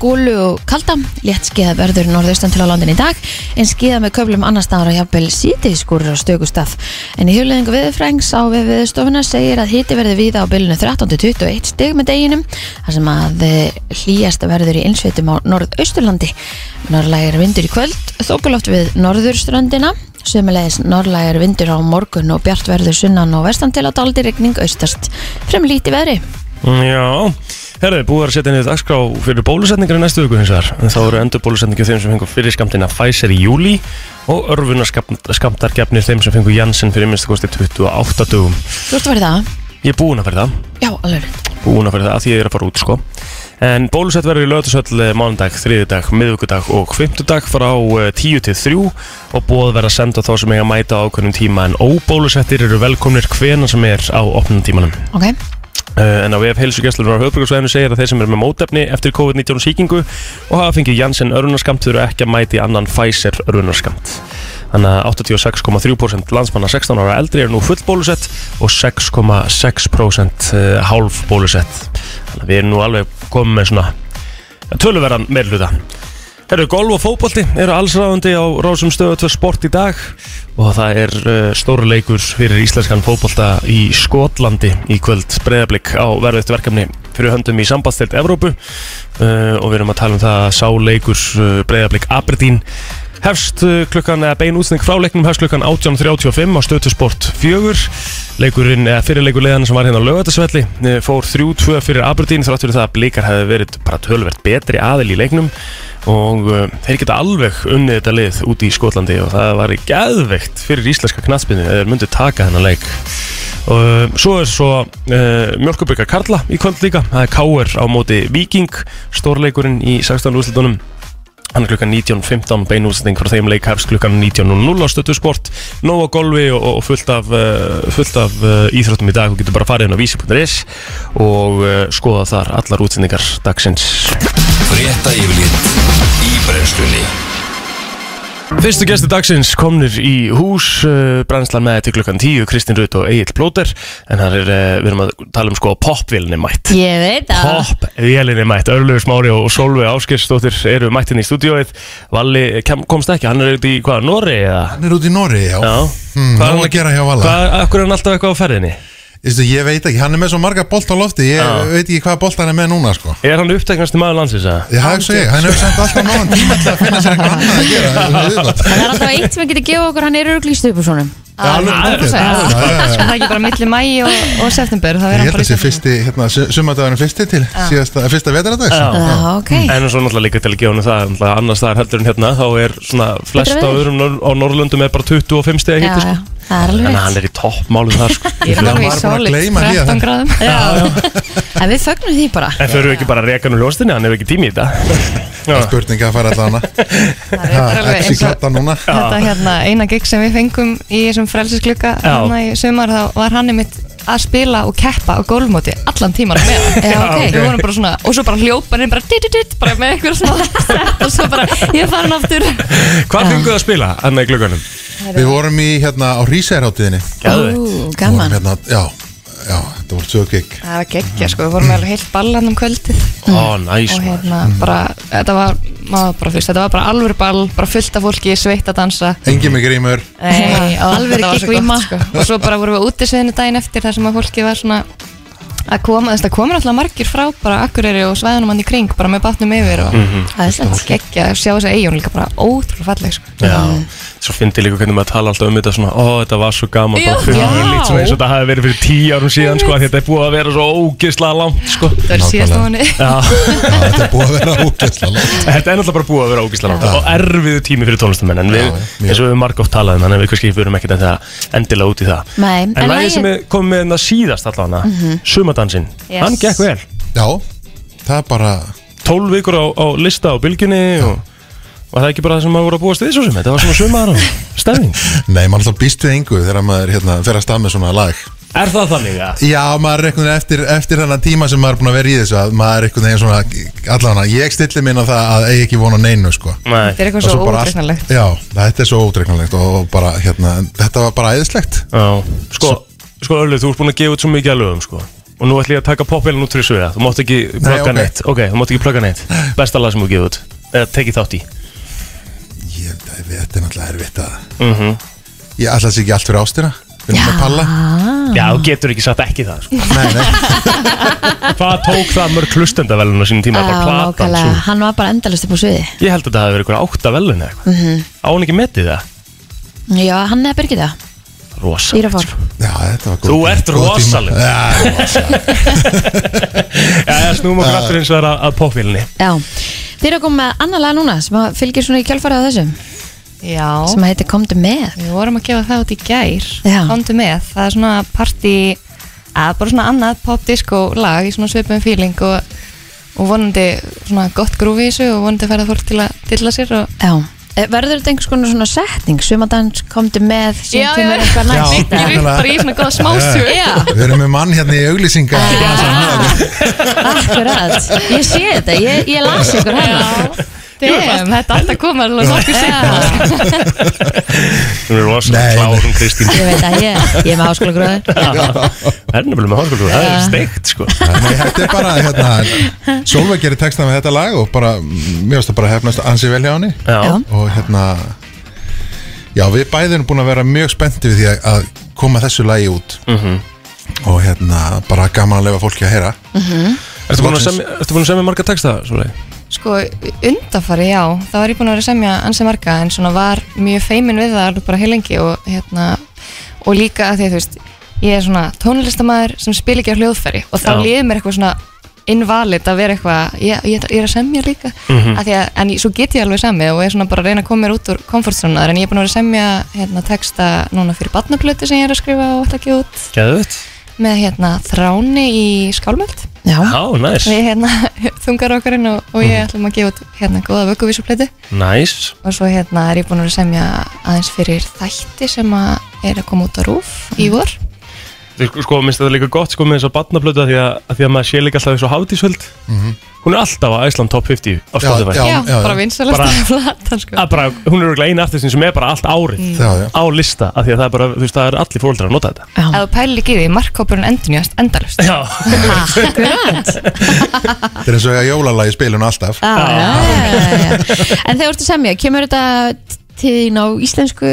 S3: Gúlu og kalda Létt skeiða verður norðaustan til á landin í dag En skeiða með köflum annars staðar og jafnvel sítiðskúrur á stökustaf En í hugleðingu viðfrængs á við viðstofuna segir að hiti verður víða á bylunu 13-21 stig með deginum þar sem að eh, hlýjast verður í innsveitum á norðausturlandi Norðlægir vindur í kvöld Þókuloft við norðurströndina Sumilegis norrlægir vindur á morgun og bjart verður sunnan og vestan til að daldi regning austast. Frem líti veðri.
S2: Mm, Já Herðu, búið er að setja niður dagskrá fyrir bólusetningar í næstu viku hins vegar en þá eru endur bólusetningar þeim sem fengur fyrir skamtina Pfizer í júli og örfunarskamptargefnir þeim sem fengur Janssen fyrir minnstu kosti 28 dugum
S3: Þú ert að vera í það?
S2: Ég er búinn að fyrir það
S3: Já, alveg rétt.
S2: búin að fyrir það að því ég er að fara út sko en bólusett verður í lögutasöll mánudag, þriðudag, miðvikudag og fymtudag frá eh, 10 til 3 og bóð verða senda þá sem eiga að mæta á ákveðnum tíma en óbólusettir eru velkomnir hvena sem er á opnum tímanum
S3: Ok.
S2: uh, en á VF heilsugjastlunar á höfbrukarsvæðinu segir að þeir sem eru með mótefni eftir COVID-19 sýkingu og hafa fengið Janssen örunarskamt þurfa ekki að mæti annan Pfizer örunarskamt Þannig að 86,3% landsmanna 16 ára og eldri eru nú fullbólusett og 6,6% eh, hálfbólusett Þannig að við erum nú alveg komið með svona töluverðan meirluta Herru, golf og fótbolti eru allsráðandi á Rásum stöðu 2 sport í dag og það er uh, stóru leikur fyrir íslenskan fótbolta í Skotlandi í kvöld breyðablík á verðuðt verkefni fyrir höndum í sambandstilt Evrópu uh, og við erum að tala um það að sá leikur uh, breyðablík Aberdeen hefst uh, klukkan eða bein útsending frá leiknum hefst klukkan 18.35 á stöðtusport 4 leikurinn eða fyrirleikur leiðan sem var hérna á lögatarsvelli eh, fór 3-2 fyrir Aberdeen þrátt fyrir það að blíkar hefði verið bara tölvert betri aðil í leiknum og uh, þeir geta alveg unnið þetta lið úti í Skotlandi og það var geðveikt fyrir íslenska knatspinni eða þeir myndu taka þennan leik og uh, svo er svo uh, Mjölkubyrgar Karla í kvöld líka það er Káur á móti Viking stórleikurinn í 16. úrslitunum Hann er klukkan 19.15 beinútsending frá þeim leik hefst klukkan 19.00 á stöttu sport Nóa golfi og, og fullt af, uh, fullt af uh, íþróttum í dag og getur bara farið inn á vísi.is og uh, skoða þar allar útsendingar dagsins
S1: Frétta yfirlit í brennslunni
S2: Fyrstu gesti dagsins komnir í hús uh, brennslan með til klukkan 10 Kristinn Rutt og Egil Plóter en hann er, uh, við erum að tala um sko popvilni mætt
S3: Ég veit að
S2: Hopp, vélinni mætt, Örlöf Smári og Solveig Áskirsdóttir eru mættin í stúdíóið Valli eh, kem, komst ekki, hann er út í hvaða, Norri eða?
S4: Hann er út í Norri, já.
S2: Já,
S4: Hmm,
S2: Hvað
S4: nóg að gera hjá Valla.
S2: Hvað, akkur er hann alltaf eitthvað á ferðinni?
S4: Vistu, ég veit ekki, hann er með svo marga bolt á lofti, ég
S2: Já.
S4: veit ekki hvað bolt hann er með núna, sko.
S2: Er hann uppteknasti maður landsins að?
S4: Ég hafði svo ég, hann hefur samt alltaf nógan tíma til að finna sér eitthvað annað að gera. þetta er viðbót.
S3: Það er alltaf eitt sem hann getur að gefa okkur, hann er örugl í stöpursónum
S4: Já, alveg pottþétt.
S3: já, já.
S4: Já, já, já.
S5: Það er ekki bara milli mæi og, og september Ég
S4: Ég held að það sé fyrsti, hérna, sumadagurinn fyrsti til síðasta, eh, fyrsta vetaradags.
S2: Já. Mm.
S3: Já, Ah, ok
S2: En svo náttúrulega líka til að gefa hann það náttúrulega annars staðar heldur en hérna þá er svona flest á
S3: veður.
S2: öðrum nor á Norrlöndum er bara 25 stegi
S3: Já,
S2: hitti
S3: já,
S2: sko.
S3: það er alveg
S2: Þannig að hann
S3: rétt
S2: er í toppmálum þar sko.
S5: Ég
S4: Hann
S5: fann alveg
S4: var
S5: í
S4: búinn að
S5: sólit
S4: gleyma því að
S5: 13
S4: hann-
S5: gráðum
S3: En við fögnum því bara
S2: En þau eru ekki bara að reka hann úr ljóstinni, hann hefur ekki tími í þetta Já,
S4: Spurning að fara allan
S5: Það er bara
S4: að
S5: alveg
S4: ekki
S5: eins og
S4: klatta núna.
S5: Þetta hérna, eina gig sem við fengum í þessum frelsisklukka
S2: Já.
S5: hérna í sumar þá var hann einmitt að spila og keppa á gólfmóti allan tíman með
S3: Já, ok.
S5: Við vorum bara svona, og svo bara hljópa hann bara ditt, ditt, ditt, bara með einhver svona set og svo bara, ég fann aftur
S2: hvað fenguð þið að spila hann í glugganum?
S4: Við vorum í, hérna, á Rísæðarháttiðinni.
S2: Gæðveikt.
S3: Ú,
S4: Vorum
S3: Gaman
S4: hérna, já, já, þetta voru tvö gig.
S5: Það var geggja, sko, við vorum með alveg heilt ballan um kvöldið
S2: Ó, næs
S5: og
S2: maður.
S5: hérna bara, þetta var maður bara fyrst, þetta var bara alvöru ball bara fullt af fólki, sveitt að dansa
S4: Engi mig grímur.
S5: Nei,
S3: Já, alvöru
S5: þetta var svo
S3: giggvíma.
S5: gott, sko. og svo bara vorum við úti sviðinu daginn eftir þar sem að fólki var svona að koma, þess að komur alltaf margir frá bara Akureyri og svæðunum hann í kring, bara með bátnum yfir og
S3: Það er slett
S5: geggja, sjá þess að eigin líka bara ótrúlega falleg sko.
S2: Já, svo fyndi líka hvernig maður tala alltaf um þetta svona, ó þetta var svo gaman bara
S5: Já.
S2: fyrir
S5: Já.
S2: mig, svona eins og þetta hafi verið fyrir tíu árum síðan sko, af því þetta er búið að vera svo ógeðslega langt sko.
S5: það var í síðasta
S4: Nákvæmlega.
S5: mánu
S2: Já,
S4: Já, Þetta er búið að vera ógæsla langt.
S2: þetta er náttúrulega bara búið að vera ógeðslega langt og erfiðu tími fyrir tónlistamenn en við,
S4: Já, já.
S2: eins og við margótt talaðum þannig að um við kannski fyrir ekkert að það endilega út í það
S3: Nei,
S2: En,
S3: en
S2: en lagið
S3: lagið-
S2: sem við komum með hérna síðast allavega mm Sumadansinn,
S5: Yes.
S2: hann gekk vel
S4: Já, það er bara,
S2: 12 vikur á, á lista á bylginni og Var það ekki bara það sem maður voru að búast við svo sem? Þetta var svona sumar og stefning.
S4: nei, maður alltaf býst við engu þegar maður hérna, fer að stað með svona lag.
S2: Er það þannig að?
S4: Já, maður er einhvern veginn eftir, eftir þennan tíma sem maður er búin að vera í þessu að maður er einhvern veginn svona, allan að ég stilli minna það að eigi ekki vona neinu, sko.
S2: Nei.
S5: þetta er eitthvað
S4: Og
S5: svo
S4: bara allt-
S5: ótrúlega
S4: Já, þetta er svo ódreiknulegt og bara, hérna, en þetta var bara æðislegt.
S2: Já, sko, sko Öllu, þú ert búin að gefa út svo mikið að lögum, sko Og nú ætlum ég að taka popvelin út fyrir sviða Þú mátt ekki plugga
S4: ok.
S2: neitt Ok, þú mátt ekki plugga neitt Besta lag sem þú gefið út Eða tekið þátt í
S4: Ég, þetta er náttúrulega erfitt að, ég ætla þessi ekki allt fyrir ástina, fyrir með palla.
S2: Já, þú getur ekki sagt ekki það, sko
S4: Nei, nei,
S2: Hvað tók það mörg hlustendavelun á sínum tíma?
S3: Já,
S2: Bara platan,
S3: nákvæmlega,
S2: svo
S3: hann var bara endalist upp á sviði
S2: Ég held að það hafi verið eitthvað átta velun eða eitthvað
S5: Mhm.
S2: Á hann ekki metið það?
S3: Já, hann eða Birgitta,
S2: Rosa
S3: dýrafár
S5: sko.
S4: já, þetta var góð.
S2: Þú ert
S4: góð tíma.
S2: rosalegur.
S4: Já,
S2: Já, já, snúum okkur aftur eins og það að popvelinni
S3: Já, þeir eru að koma með annað lag núna sem að fylgir svona í kjálfarið á þessum
S5: já,
S3: sem að heitir Komdu með
S5: Við vorum að gefa það út í gær
S3: Já.
S5: Komdu með, það er svona party að bara svona annað pop-disco lag í svona svipum feeling og, og vonandi svona gott grúfi í þessu og vonandi færa fólk til að dilla sér og
S3: Já, Eh, verður þetta einhvers konar svona setning sumadans Komdu með,
S5: Já,
S3: síðan
S5: já.
S3: kemur eitthvað
S4: Já,
S3: næst
S5: byggir upp bara í svona góða smásjö
S3: Já,
S4: Við erum með mann hérna í auglýsinga
S3: Ah.
S2: Ah.
S3: akkurat Ég sé þetta, ég, ég las ykkur hérna
S5: Damn, þetta alltaf komar alveg nokkuð seinna
S2: Hún er rosalega
S4: Nei, nei.
S2: klárum Kristín
S3: Ég veit að ég, ég er með háskóla gróður
S2: Það er nefnilega með háskóla Það er steikt sko
S4: Nei, þetta er bara, hérna, Solveig gerir texta með þetta lag og bara, mér finnst það bara hefnast ansi vel hjá henni
S2: Já,
S4: og hérna, já, við bæðið erum búin að vera mjög spennti við því að, að koma þessu lagi út
S2: Mhm.
S4: og hérna, bara gaman að lefa fólki að heyra
S2: ertu búin að semja- ertu búin að semja marga texta svo leið?
S5: Sko, undafari, já, þá var ég búin að vera að semja ansi marga en svona var mjög feimin við það alveg bara heilengi og hérna og líka að því að þú veist ég er svona tónlistamæður sem spil ekki á hljóðfæri og þá
S2: Já.
S5: liður mér eitthvað svona invalid að vera eitthvað, ég, ég, ég er að semja líka af því að, en svo get ég alveg semja og er svona bara að reyna að koma mér út úr komfortzónar en ég er búin að vera að semja hérna texta núna fyrir barnaplötu sem ég er að skrifa og ætla ekki út
S2: Gæðvögt
S5: með hérna þráni í skálmöld
S3: Já,
S2: Já, næs
S5: við hérna þungar okkarinn og, og ég ætlum að gefa út hérna góða vögguvísuplötu
S2: Næs
S5: og svo hérna er ég búin að vera að semja aðeins fyrir þætti sem að er að koma út á rúf í vor
S2: Þú sko- Sko, minnst þetta líka gott sko með þess að batnablötu að, því að að því að maður sé líka alltaf eins og hátísvöld Hún er alltaf á Æsland Top 50 á Spotify
S4: Já, já,
S5: bara
S4: já.
S5: vinsalast
S2: Bara-
S5: að flata sko.
S2: Að bara, Hún er örugglega eina artistin sem er bara allt árið
S3: Mm.
S4: Já, já.
S2: á lista af því að það er bara, þú veist, það er allir fólkdrar að nota þetta
S3: já,
S5: að þú pælir ekki í því, markkópurinn endunjast endalust
S2: Já,
S4: Þetta er eins og að jólalagi spilun alltaf
S3: já, já, Ah, já, já. En þegar ertu semja, kemur þetta til þín á íslensku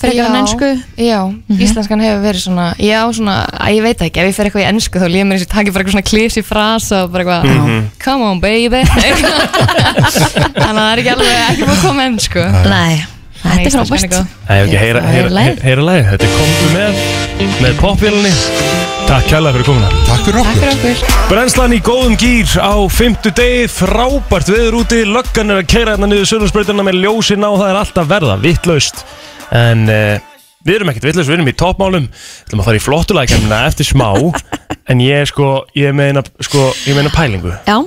S3: frekar en ennsku?
S5: já, íslenskan hefur verið svona já, svona, að ég veit ekki, ef ég fer eitthvað í ennsku þá líður mér eins og takir bara eitthvað svona klísi frasa og bara eitthvað,
S3: Mhm.
S5: come on baby þannig að það er ekki alveg ekki búin að koma ennsku
S3: Nei, þetta er frábært
S2: það er ekki að heyra,
S3: Það er
S2: heyra,
S3: lagið.
S2: heyra, heyra lagi Þetta er komið með, með popvélunni Takk kærlega fyrir komuna
S4: Takk fyrir
S5: Takk
S4: okkur
S5: fyrir okkur
S2: Brennslan í góðum gýr á fymtu degi, frábært veður úti, löggan er að keira hérna niður sörnarsprautina með ljósin á, það er alltaf að verða, vittlaust. En uh, við erum ekkert vittlaust, við erum í toppmálum, við ætlum að fara í flottulækjumna eftir smá, en ég er sko, ég meina, sko, ég meina pælingu.
S3: Já,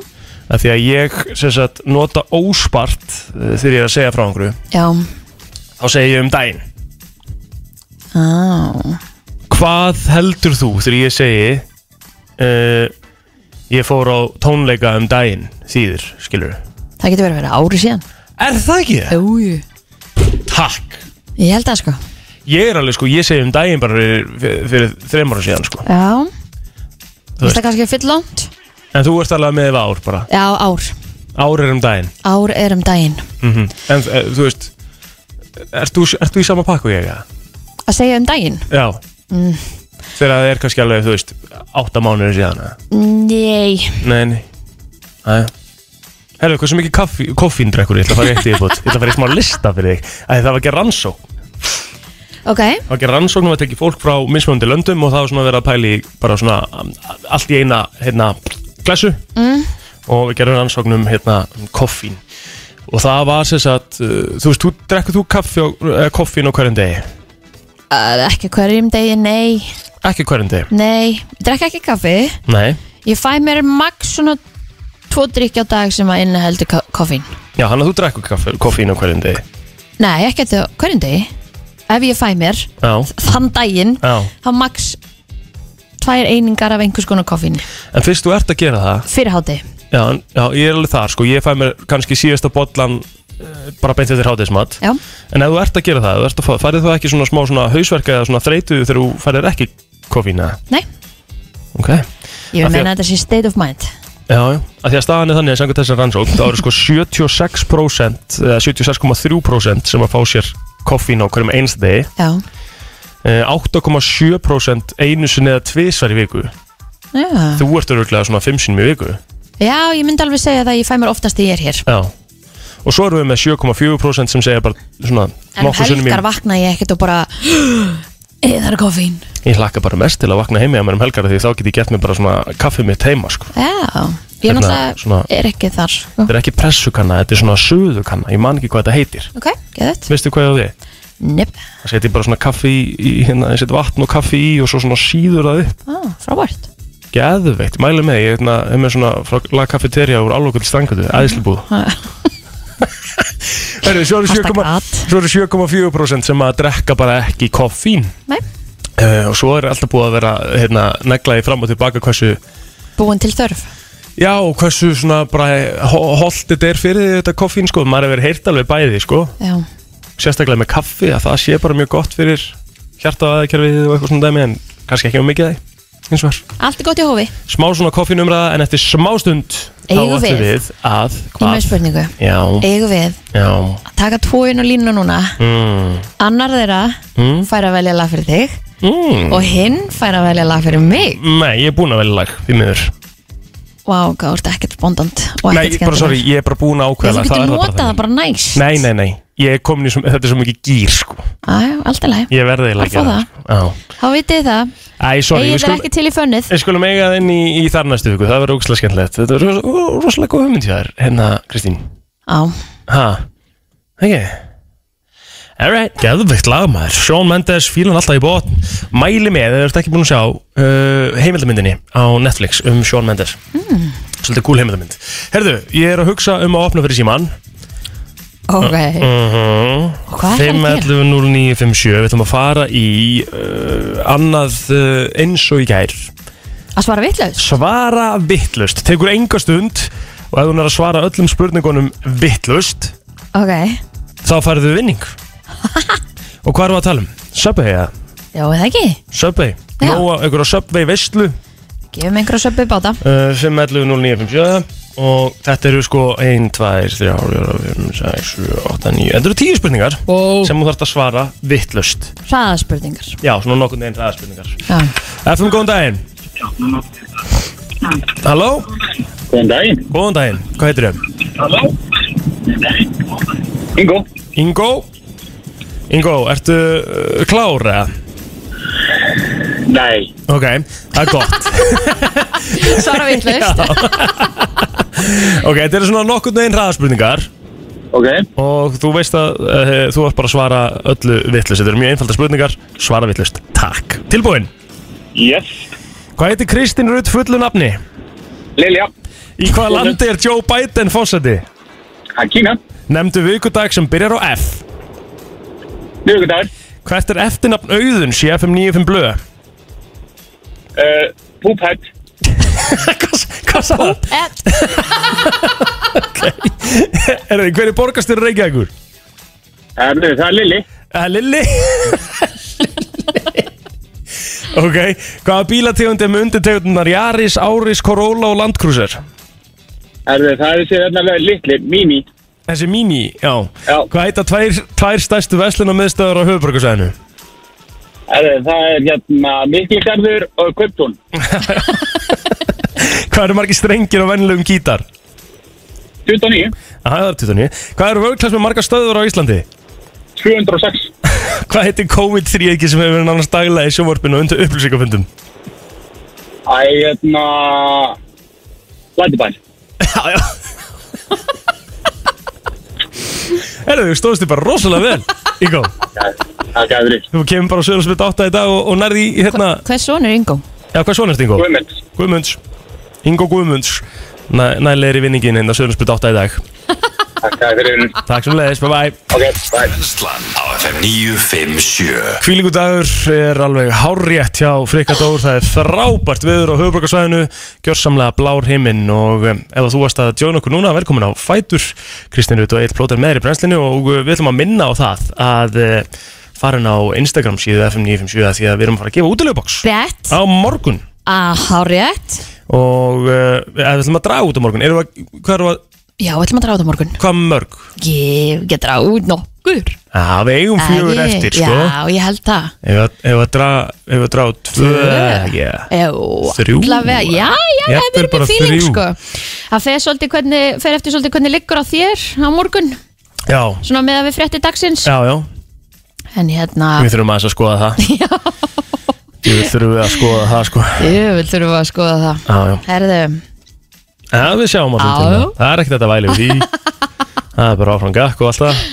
S2: Af því að ég, sem sagt, nota óspart uh, þegar ég er að segja frá einhverju,
S3: já
S2: þá segi ég um daginn.
S3: Á,
S2: Hvað heldur þú þegar ég segi, uh, ég fór á tónleika um daginn, þýðir, skilur
S3: Það getur verið að vera ári síðan
S2: Er það ekki það?
S3: Jújú
S2: Takk
S3: Ég held það sko
S2: Ég er alveg sko, ég segi um daginn bara fyrir, fyrir- fyrir þreim ára síðan sko
S3: Já,
S2: Þú
S3: veist
S2: veist.
S3: það kannski full langt
S2: En þú ert alveg með yfir ár bara
S3: Já, ár
S2: Ár er um daginn
S3: Ár er um daginn
S2: mm En e, þú veist Ert þú, ert þú í sama pakku ég? eða?
S3: Að segja um daginn
S2: Já Þegar það er kannski alveg, þú veist Átta mánuður síðan eða?
S3: Nei
S2: Nei, nei Æja Herðu, hversu mikið kaffi, koffín drekkur Ég ætla að fara í eitt yfirbútt Ég ætla að fara í smá lista fyrir þig Æ, Það var ekki rannsók
S3: Ok,
S2: Það var ekki rannsóknum að tekja fólk frá mismöndi löndum og það var svona verið að pæli bara svona um, allt í eina hérna klessu mm. og við gerum rannsóknum hérna um koffín og það var sem sagt uh, þú veist, þú drekkur þú kaffi og uh, koffín á hverjum degi?
S3: uh, ekki á hverjum degi, nei
S2: Ekki á hverjum degi?
S3: Nei, ég drekka ekki kaffi
S2: Nei
S3: Ég fæ mér max svona Tvo drikki á dag sem að innaheldur ko koffín
S2: Já, hann að þú drekkur kaffi, koffín á hverjum degi
S3: Nei, ekki á hverjum degi Ef ég fæ mér
S2: Já,
S3: þann daginn
S2: já
S3: Þá max Tvær einingar af einhvers konar koffín
S2: En fyrst þú ert að gera það
S3: Fyrir háti
S2: Já, en- já ég er alveg þar sko ég fæ mér kannski síðasta bollan eh, bara beint eftir hátismat
S3: Já,
S2: En ef þú ert að gera það, þú ert að fá- færið þú ekki svona smá svona hausverka eða svona þreytu þegar þú færið ekki koffína?
S3: Nei.
S2: Ok, já,
S3: ég
S2: Af því
S3: vil meina að þetta sé state of mind
S2: já, að því að staðan er þannig að sanga þessar rannsókn, þá eru sko 76% eða 76,3% sem að fá sér koffín á hverjum einst degi,
S3: Já,
S2: Eh, 8,7% einu sinni eða tvisvar í viku.
S3: já
S2: Þú ert öruglega svona 5 sinni í viku.
S3: Já, ég myndi alveg segja það að ég fæ mér oftast þegar ég er hér
S2: Já. Og svo erum við með 7,4% sem segja bara svona
S3: En um
S2: nokkuð sinnum í
S3: helgar vakna ég ekkert og bara Eðar koffín
S2: Ég hlakka bara mest til að vakna heimi að mér um helgar af því þá get ég gert mér bara svona kaffið mitt heima sko.
S3: Já, ég
S2: Hérna,
S3: náttúrulega
S2: svona-
S3: er ekki þar sko.
S2: Þetta er ekki pressukanna, þetta er svona suðukanna Ég man ekki hvað þetta heitir
S3: Ok, geðut
S2: Veistu hvað það er?
S3: Nip,
S2: Það seti bara svona kaffi í, í hérna, ég seti vatn og kaffi í og svo svona síður það upp
S3: ah, frábært
S2: Geðveikt, mæli með, ég hérna, hef með svona frá lag kaffeterja úr álokvöld stangutu, æðslubúð Herri, svo eru
S3: Hashtag
S2: 7,4%
S3: at.
S2: svo eru 7,4% sem að drekka bara ekki koffín
S3: Nei.
S2: Eh, Og svo er alltaf búið að vera hérna, negla í fram og tilbaka hversu
S3: Búin til þörf
S2: Já, og hversu svona bara holdt þetta er fyrir því þetta koffín sko, maður hefur heyrt alveg bæði sko,
S3: Já,
S2: sérstaklega með kaffi að það sé bara mjög gott fyrir hjarta og aðeikjörfið og eitthvað svona dæmi en kannski ekki um mikið það eins og var.
S3: allt er gott í hófi
S2: Smá svona koffínumræða en eftir smá stund þá
S3: Eigum
S2: ætlum
S3: við
S2: við að
S3: Ég er með spurningu
S2: Já,
S3: Eigum við
S2: já
S3: að taka tvo inn á línu núna
S2: mm,
S3: Annar þeirra
S2: Mm.
S3: fær að velja lag fyrir þig
S2: mm.
S3: Og hinn fær að velja lag fyrir mig
S2: Nei, ég er búin að velja lag, því miður
S3: Vá, wow, gáður, ekkert bondant og
S2: Nei,
S3: ekkert
S2: ég, bara sorry, ég er bara búin að ákveða
S3: Þú
S2: lag,
S3: getur
S2: það er
S3: notað það
S2: þannig.
S3: bara næst
S2: Nei, nei, nei, ég er komin í svo, þetta er svo mikið gýr sko
S3: Æ, Allt er læg
S2: Ég verði eiginlega
S3: Að fá það.
S2: sko. Já.
S3: Þá vitið það
S2: Æ, sorry,
S3: Egil
S2: við
S3: er
S2: skulum-
S3: ekki til í fönnið
S2: Við skulum eiga það inn í, í þar næstu viku, það verður ógslag skemmtilegt Þetta er rosalega góð hugmynd hjá þér, hérna Kristín
S3: Á,
S2: Ha, ekki Alright, geðveikt lagmaður Sean Mendes, fílan alltaf í bót Mæli með, ef þú ert ekki búin að sjá uh, heimildamyndinni á Netflix um Sean Mendes
S3: Mm.
S2: Svolítið cool heimildamynd Herðu, ég er að hugsa um að opna fyrir síman
S3: ok
S2: Og
S3: Og hvað ætlarðu að gera?
S2: 5.11.09.57 Við ætlum að fara í uh, annað uh, eins og í gær
S3: Að svara vitlaus
S2: svara vittlust tekur enga stund og ef hún er að svara öllum spurningunum vittlust
S3: Ok
S2: þá færðu vinning og hvað erum við að tala um? Subway eða?
S3: Já, eða ekki
S2: Subway
S3: Já.
S2: Nóa, einhverja Subway veistlu
S3: Gefum einhverja söpbu báta
S2: uh, 5.11.09.57 og þetta eru sko 1, 2, 3, 4, 5, 6, 7, 8, 9 Þetta eru 10 spurningar
S3: Wow.
S2: sem þú þarft að svara vittlust
S3: Hraðaspurningar
S2: Já, svona nokkurn veginn það spurningar
S3: Já
S2: FM, góðan daginn Halló,
S6: Góðan daginn.
S2: góðan daginn, hvað heitir þau?
S6: Ingo.
S2: Ingo Ingo, ertu uh, klár eða?
S6: Nei.
S2: Ok, það er gott
S3: Svara vitlaust
S2: Ok, þetta eru svona nokkurn veginn hraðaspurningar
S6: Ok.
S2: Og þú veist að uh, þú ert bara að svara öllu vittlust Þetta eru mjög einfalda spurningar, svara vittlust Takk, tilbúin
S6: Yes.
S2: Hvað heitir Kristín Rutt fullu nafni?
S6: Lilja.
S2: Í hvaða landi er Joe Biden fósæti?
S6: Að Kína.
S2: Nefndu vikudag sem byrjar á F
S6: Miðugudagur.
S2: Hvert er eftirnafn auðun CFM 95 blöð?
S6: Uh, Poophead.
S2: Hvað hvað sagði það?
S3: Ed,
S2: Er þið, hver er borgastur Reykjavíkur?
S6: Herðu, það er Lili.
S2: Uh, Lilli Ok, hvaða bílategund er með undirtegundunar Jaris, Áris, Corolla og Landcruiser?
S6: Herðu, það hérna er þessi þarna litli, Mini.
S2: Þessi mini, já,
S6: Já.
S2: Hvað heita tvær, tvær stærstu veslunarmiðstöður á höfuborgarsæðinu?
S6: Herðu, það er hérna Mikligarður og Kvöptún.
S2: Hvað eru margir strengir á vennilegum gítar?
S6: 29.
S2: Aha, Það er 29 Hvað eru vörklass með margar stöður á Íslandi?
S6: 206.
S2: Hvað heitir COVID-3 ekki sem hefur verið nánast daglega í sjónvarpinu og undir upplýsingafundum?
S6: Æ, hérna... Lætibær.
S2: Já, já Herðu, þú stóðst þið bara rosalega vel Ígó
S6: Það er gæður í.
S2: Þú kemur bara á Söðursbytt 8 í dag og, og nærði í hérna
S3: hvers son er Ingo?
S2: Já, hvað svona ertu Ingo?
S6: Guðmund.
S2: Guðmunds Ingo Guðmunds Næ- Nælega er í vinningin hérna Söðursbytt 8 í dag
S6: Það er gæður í.
S2: Takk sem leiðis, bye bye
S6: Ok, bye.
S1: Brennslan á FM 957
S2: Kvílingu dagur er alveg hárrétt hjá Frikadór Það er frábært viður á höfuborgarsvæðinu Gjörsamlega blár himinn og um, ef þú varst að joina okkur núna Velkomin á Fætur Kristín Rut og Eitt Plóter meðri brennslinu Og uh, við ætlum að minna á það að uh, farin á Instagram síðu FM957 af Því að við erum að fara að gefa útilegboks
S3: Rétt
S2: Á morgun
S3: Aha, rétt
S2: og uh, við ætlum að draga út á morgun erum við að, hvað, erum við að,
S3: Já, ætlum að draga út á morgun
S2: hvað mörg?
S3: Ég get draga út nokkur
S2: Já, við eigum fjögur
S3: Æi,
S2: eftir sko
S3: Já, ég held það
S2: ef við- ef við að draga ef við að draga út tvö yeah.
S3: Jú,
S2: Þrjú?
S3: allavega, já, já,
S2: Jafnvel
S3: það er
S2: bara
S3: með fíling
S2: þrjú.
S3: sko Það fer, svolítið hvernig, fer eftir svolítið hvernig liggur á þér á morgun
S2: já,
S3: Svona með að við frétti dagsins
S2: já, já,
S3: En hérna,
S2: við þurfum aðeins að skoða það já við þurfum að skoða það sko
S3: ég vil þurfa að skoða það
S2: já, já,
S3: Herðu,
S2: já við sjáum morgun
S3: Já,
S2: til
S3: já.
S2: það það er ekkert þetta væli við því það er bara áfram gakk og allt það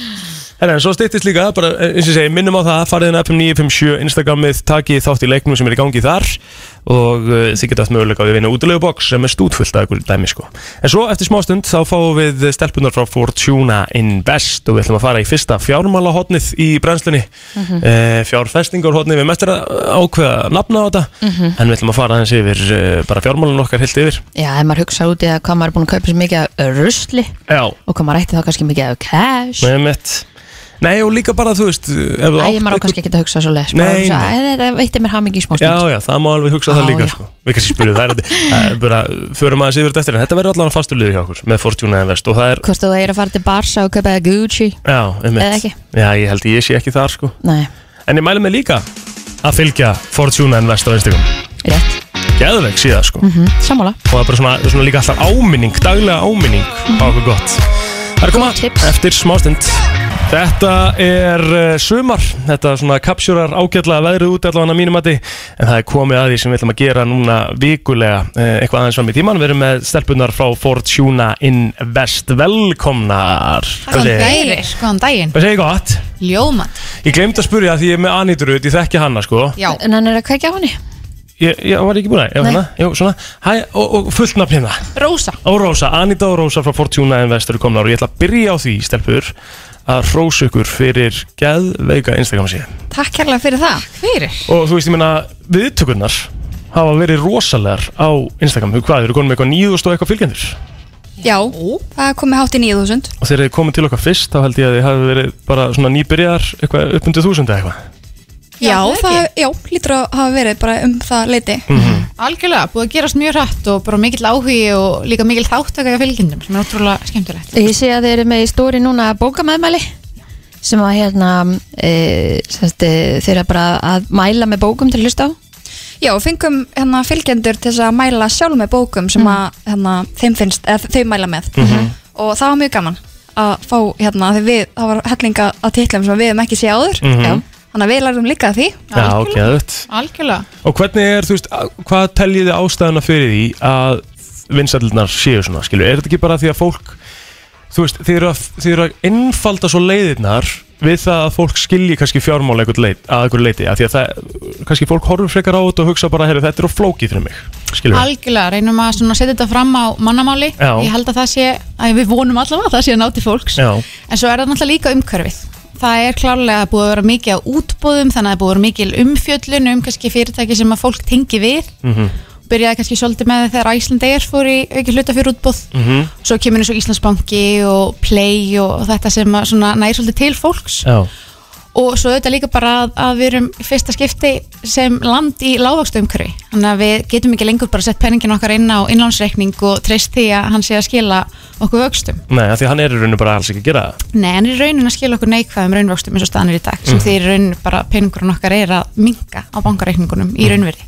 S2: En en svo styttist líka, bara eh, eins og ég segi, minnum á það, farið inn á FM957 Instagramið, takið þátt í leiknum sem er í gangi þar og uh, þið geta haft möguleika á því að vinna útilegu box sem er stútfullt af einhverju dæmi sko. En svo eftir smástund þá fáum við stelpunar frá Fortuna Invest og við ætlum að fara í fyrsta fjármálahotnið í brennslunni, mm -hmm. fjárfestingarhotnið, við mestir að ákveða nafna á þetta, en við ætlum að fara aðeins yfir uh, bara fjármálun okkar heilt yfir.
S3: Já, ef maður hugsa út í að hvað maður er búin að kaupa sér mikið af rusli
S2: Já,
S3: og hvað maður ætti þá kannski mikið af cash
S2: með mitt. Nei og líka bara þú veist, ef þú átt
S3: Æ, maður á
S2: einhver-
S3: kannski ekki að hugsa svo leis
S2: Nei, nei.
S3: Þetta veitir mér hamingi í smástund
S2: Já, já, það má alveg hugsa
S3: Já,
S2: það líka
S3: já.
S2: sko. Við kannski spyrjum það er þetta- það er bara, förum aðeins yfir þetta eftir En þetta verður allavega fastur liður hjá okkur Með Fortuna Invest og það er,
S3: Hvort þú er að fara til Barsa og kaupa þér Gucci
S2: já, um
S3: Eða ekki.
S2: Já, ég held ég sé ekki þar sko
S3: Nei,
S2: En ég mælu mig líka að fylgja Fortuna Invest á Instagram
S3: rétt,
S2: Geðveik síða sko
S3: sammála
S2: Og það er bara svona, svona líka alltaf áminning, daglega áminning Á okkur gott Það er að koma
S3: Góð tips.
S2: eftir smástund Þetta er uh, sumar, þetta svona kapsjórar ágætlega veðrið út allavega að mínum mati en það er komið að því sem við ætlum að gera núna vikulega uh, eitthvað aðeins fram í tíman við erum með stelpunar frá Fortuna Invest velkomnar
S7: Góðan
S2: Hvernig-
S7: daginn, góðan daginn
S2: Hvað segir ég gott?
S7: Ljómat,
S2: Ég glemt að spurja því ég er með Anítur út, ég þekki hanna sko
S7: já
S3: En hann er að kveikja á henni
S2: Ég, ég var ekki búin að, ég var
S7: Nei.
S2: hana, jú, svona Hæ, og, og fullt nafn hérna
S7: Rósa,
S2: Og Rósa, Anita og Rósa frá Fortuna Invest eru komnar og ég ætla að byrja á því, stelpur að rósa ykkur fyrir geðveika Instagram síðan
S7: takk kærlega fyrir það Fyrir
S2: Og þú veist, ég meina, viðtökurnar hafa verið rosalegar á Instagram Þú Hvað, þeir eru konum með eitthvað 9000 og eitthvað fylgjendur
S7: Já, það er komið hátt í 9000
S2: Og þegar þeir komið til okkar fyrst, þá held ég að þeir hafi verið bara svona nýbyrjar eitthvað upp undir þúsund eða eitthvað
S7: Já, það, já, lítur að hafa verið bara um það leiti
S8: Algjörlega, búið að gerast mjög hratt og bara mikill áhugi og líka mikill þáttaka í fylgjendum sem er ótrúlega skemmtilegt.
S3: Ég sé að þeir eru með í stóri núna bókamæðmæli sem að hérna e, sérst, e, þeir eru bara að mæla með bókum til að hlusta á
S7: Já, og fengum hérna fylgjendur til þess að mæla sjálf með bókum sem að hérna, þeim finnst, eða þau mæla með og það var mjög gaman að fá hérna, þegar við, það var hellinga að titlum sem við hefum ekki séð áður
S2: Mhm.
S7: Já. þannig að við lærum líka af því
S2: Já, ok, þetta
S8: Algjörlega.
S2: Og hvernig er, þú veist, að- hvað teljið þið ástæðuna fyrir því að vinsældirnar séu svona, skilju? Er þetta ekki bara því að fólk, þú veist, þið eru að, þið eru að innfalda svo leiðirnar við það að fólk skilji kannski fjármál að einhver leit, að einhver leiti, að því að það, kannski fólk horfur frekar á þetta og hugsa bara, heyrðu, þetta er á flókið fyrir mig, skilju?
S8: Algjörlega, reynum að svona setja þetta fram á mannamáli.
S2: Já.
S8: Ég held að það sé, að við vonum allavega að það sé að ná til fólks.
S2: Já,
S8: En svo er það náttúrulega líka umhverfið. Það er klárlega búið að vera mikið á útbóðum, þannig að það er búið að vera mikil umfjöllun um kannski fyrirtæki sem að fólk tengi við.
S2: Mhm.
S8: Byrjaði kannski svolítið með þegar Æslandeir fór í auki hluta fyrir útbóð.
S2: Mhm.
S8: Svo kemur eins og Íslandsbanki og Play og þetta sem að svona nær svolítið til fólks.
S2: já,
S8: og svo auðvitað líka bara að, að við erum í fyrsta skipti sem land í lágvakstu umhverfi þannig að við getum ekki lengur bara sett penningin okkar inn á innlánsreikning og treyst því að hann sé að skila okkur vöxtum
S2: nei, að því að hann er í rauninu bara alls ekki að gera það.
S8: Nei, hann er í rauninu að skila okkur neikvæðum raunvöxtum eins og staðan er í dag sem
S3: Mhm.
S8: því í rauninu bara peningurinn okkar er að minka á bankareikningunum
S3: Mhm.
S8: í raunverði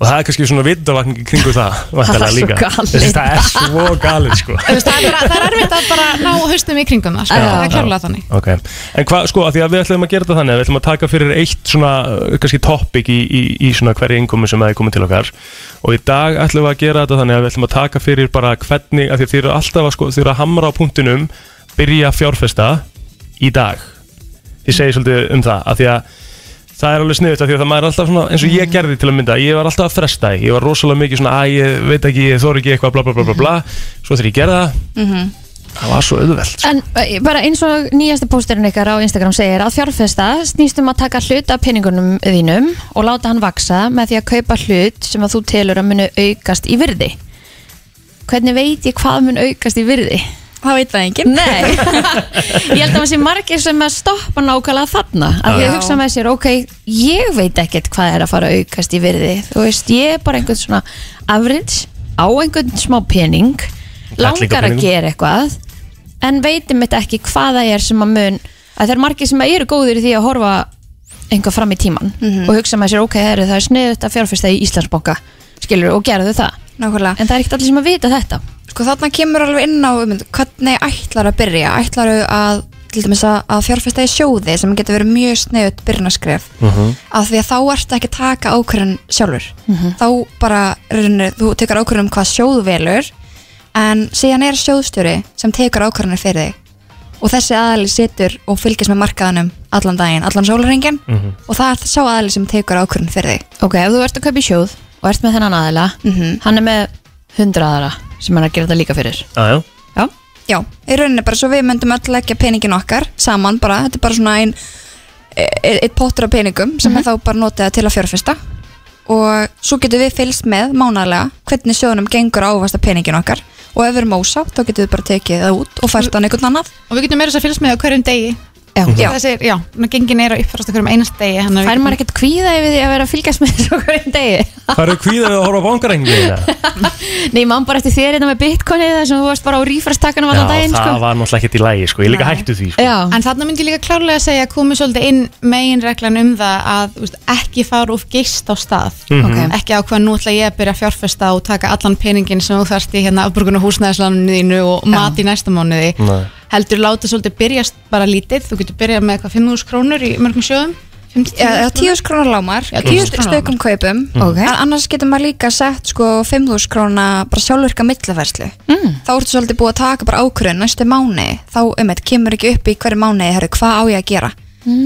S2: Og það er kannski svona vitavakning í kringu það, væntanlega
S3: svo
S2: líka.
S3: galið.
S2: Þessi, Það er svo galið, sko.
S8: Þú veist, það, er bara, það er erfitt að bara ná haustum í kringum það, sko,
S3: Já.
S8: það er klárlega þannig
S2: Ok, en hvað, sko, að því að við ætlum að gera þetta þannig að við ætlum að taka fyrir eitt svona, uh, kannski topic í, í, í svona hverju innkomi sem það er komið til okkar og í dag ætlum við að gera þetta þannig að við ætlum að taka fyrir bara hvernig, að því að þið eru alltaf að, sko, þið eru að hamra á punktinum byrja að fjárfesta í dag Þið segir svolítið um það, að því að það er alveg sniðut af því að það maður er alltaf svona eins og ég gerði til að mynda, ég var alltaf að fresta því ég var rosalega mikið svona, að ég veit ekki, ég þóri ekki eitthvað, bla bla bla bla bla svo þegar ég gerði það,
S3: Mhm.
S2: það var svo auðvelt sko.
S3: En eh, bara eins og nýjasti pósturinn ykkar á Instagram segir að fjárfesta snýstum að taka hlut af peningunum þínum og láta hann vaksa með því að kaupa hlut sem að þú telur að munu aukast í virði Hvernig veit ég hvað mun aukast í virði?
S7: það veit það enginn
S3: Nei, ég held að maður sé margir sem að stoppa nákvæmlega þarna að ég
S7: Já.
S3: hugsa með sér, ok, ég veit ekkert hvað er að fara að aukast í virði þú veist, ég er bara einhvern svona average á einhvern smá pening langar að
S2: peningum.
S3: gera eitthvað en veitum þetta ekki hvað það er sem að mun að það er margir sem að eru góðir í því að horfa einhvað fram í tíman og hugsa með sér, ok, það er, það er sniðut að fjárfesta í Íslandsbanka skilur og gera þau það
S7: Nákvæmlega.
S3: en það er ekkert allir sem að vita þetta
S7: Sko þarna kemur alveg inn á um, hvernig ætlar að byrja, ætlar að til dæmis að, að fjárfesta í sjóði sem getur verið mjög snöðut byrjunaskref af því að þá ertu ekki að taka ákvörðun sjálfur, þá bara raunir, þú tekur ákvörðun um hvað sjóð velur en síðan er sjóðstjóri sem tekur ákvörðunir fyrir þig og þessi aðali situr og fylgist með markaðanum allan daginn, allan sólarringin og það er sá aðali sem tekur ákvörðun fyrir þig
S3: Ok, ef þú ert að kaupa í sjóð og ert með þennan aðila
S7: Mhm.
S3: hann er með 100 aðra sem hann er að gera þetta líka fyrir
S2: Aðjá
S3: Já,
S7: Já, í rauninni bara svo við myndum öll leggja peningin okkar saman bara, þetta er bara svona ein e- eitt pottur af peningum sem er þá bara notið til að fjörfesta og svo getum við fylgst með mánalega hvernig sjóðunum gengur að ávasta peningin okkar og ef við erum ósá, þá getum við bara tekið það út og fært hann einhvern annað
S8: og við getum meira þess að fylgst með á hverjum degi
S3: já.
S7: Já.
S8: þessi, já, svona gengin er að uppfærast á hverjum einast degi þannig að við
S3: Fær maður
S8: getum-
S3: ekkert kvíða yfir því að vera að fylgjast með þessu á hverjum degi?
S2: Það eru kvíðar við að horfa á bankarengið
S3: Nei, mann bara eftir þér hérna með bitcoinið þar sem þú varst bara á rífrastakkanum allan daginn
S2: það
S3: sko.
S2: var náttúrulega ekkert í lægi sko. Ég líka hættu því sko.
S3: Já,
S8: En þarna myndi ég líka klárlega að segja að komi svolítið inn meginreglan um það að þú veist, ekki fara of geist á stað
S3: Ok.
S8: ekki á hvað nú ætla ég að byrja að fjárfesta og taka allan peningin sem þú þarft í hérna afbrugun og húsnæðislaninu þínu og mat í næsta mánuði
S2: Nei.
S8: heldur láta svolítið byrjast bara lítið þú getur byrjað með eitthvað 5.000 krónur í mörgum sjöðum
S7: Já, tíus krónar lámar,
S8: Já, 10.000
S7: tíu
S8: krónar
S7: stökum kaupum
S3: Ok.
S7: en annars getur maður líka sett sko 5.000 krónar bara sjálfurka millafærslu mm. þá ertu svolítið búið að taka bara ákvörðun næstu mánu, þá um eitt kemur ekki upp í hverju mánu, herru, hvað á ég að gera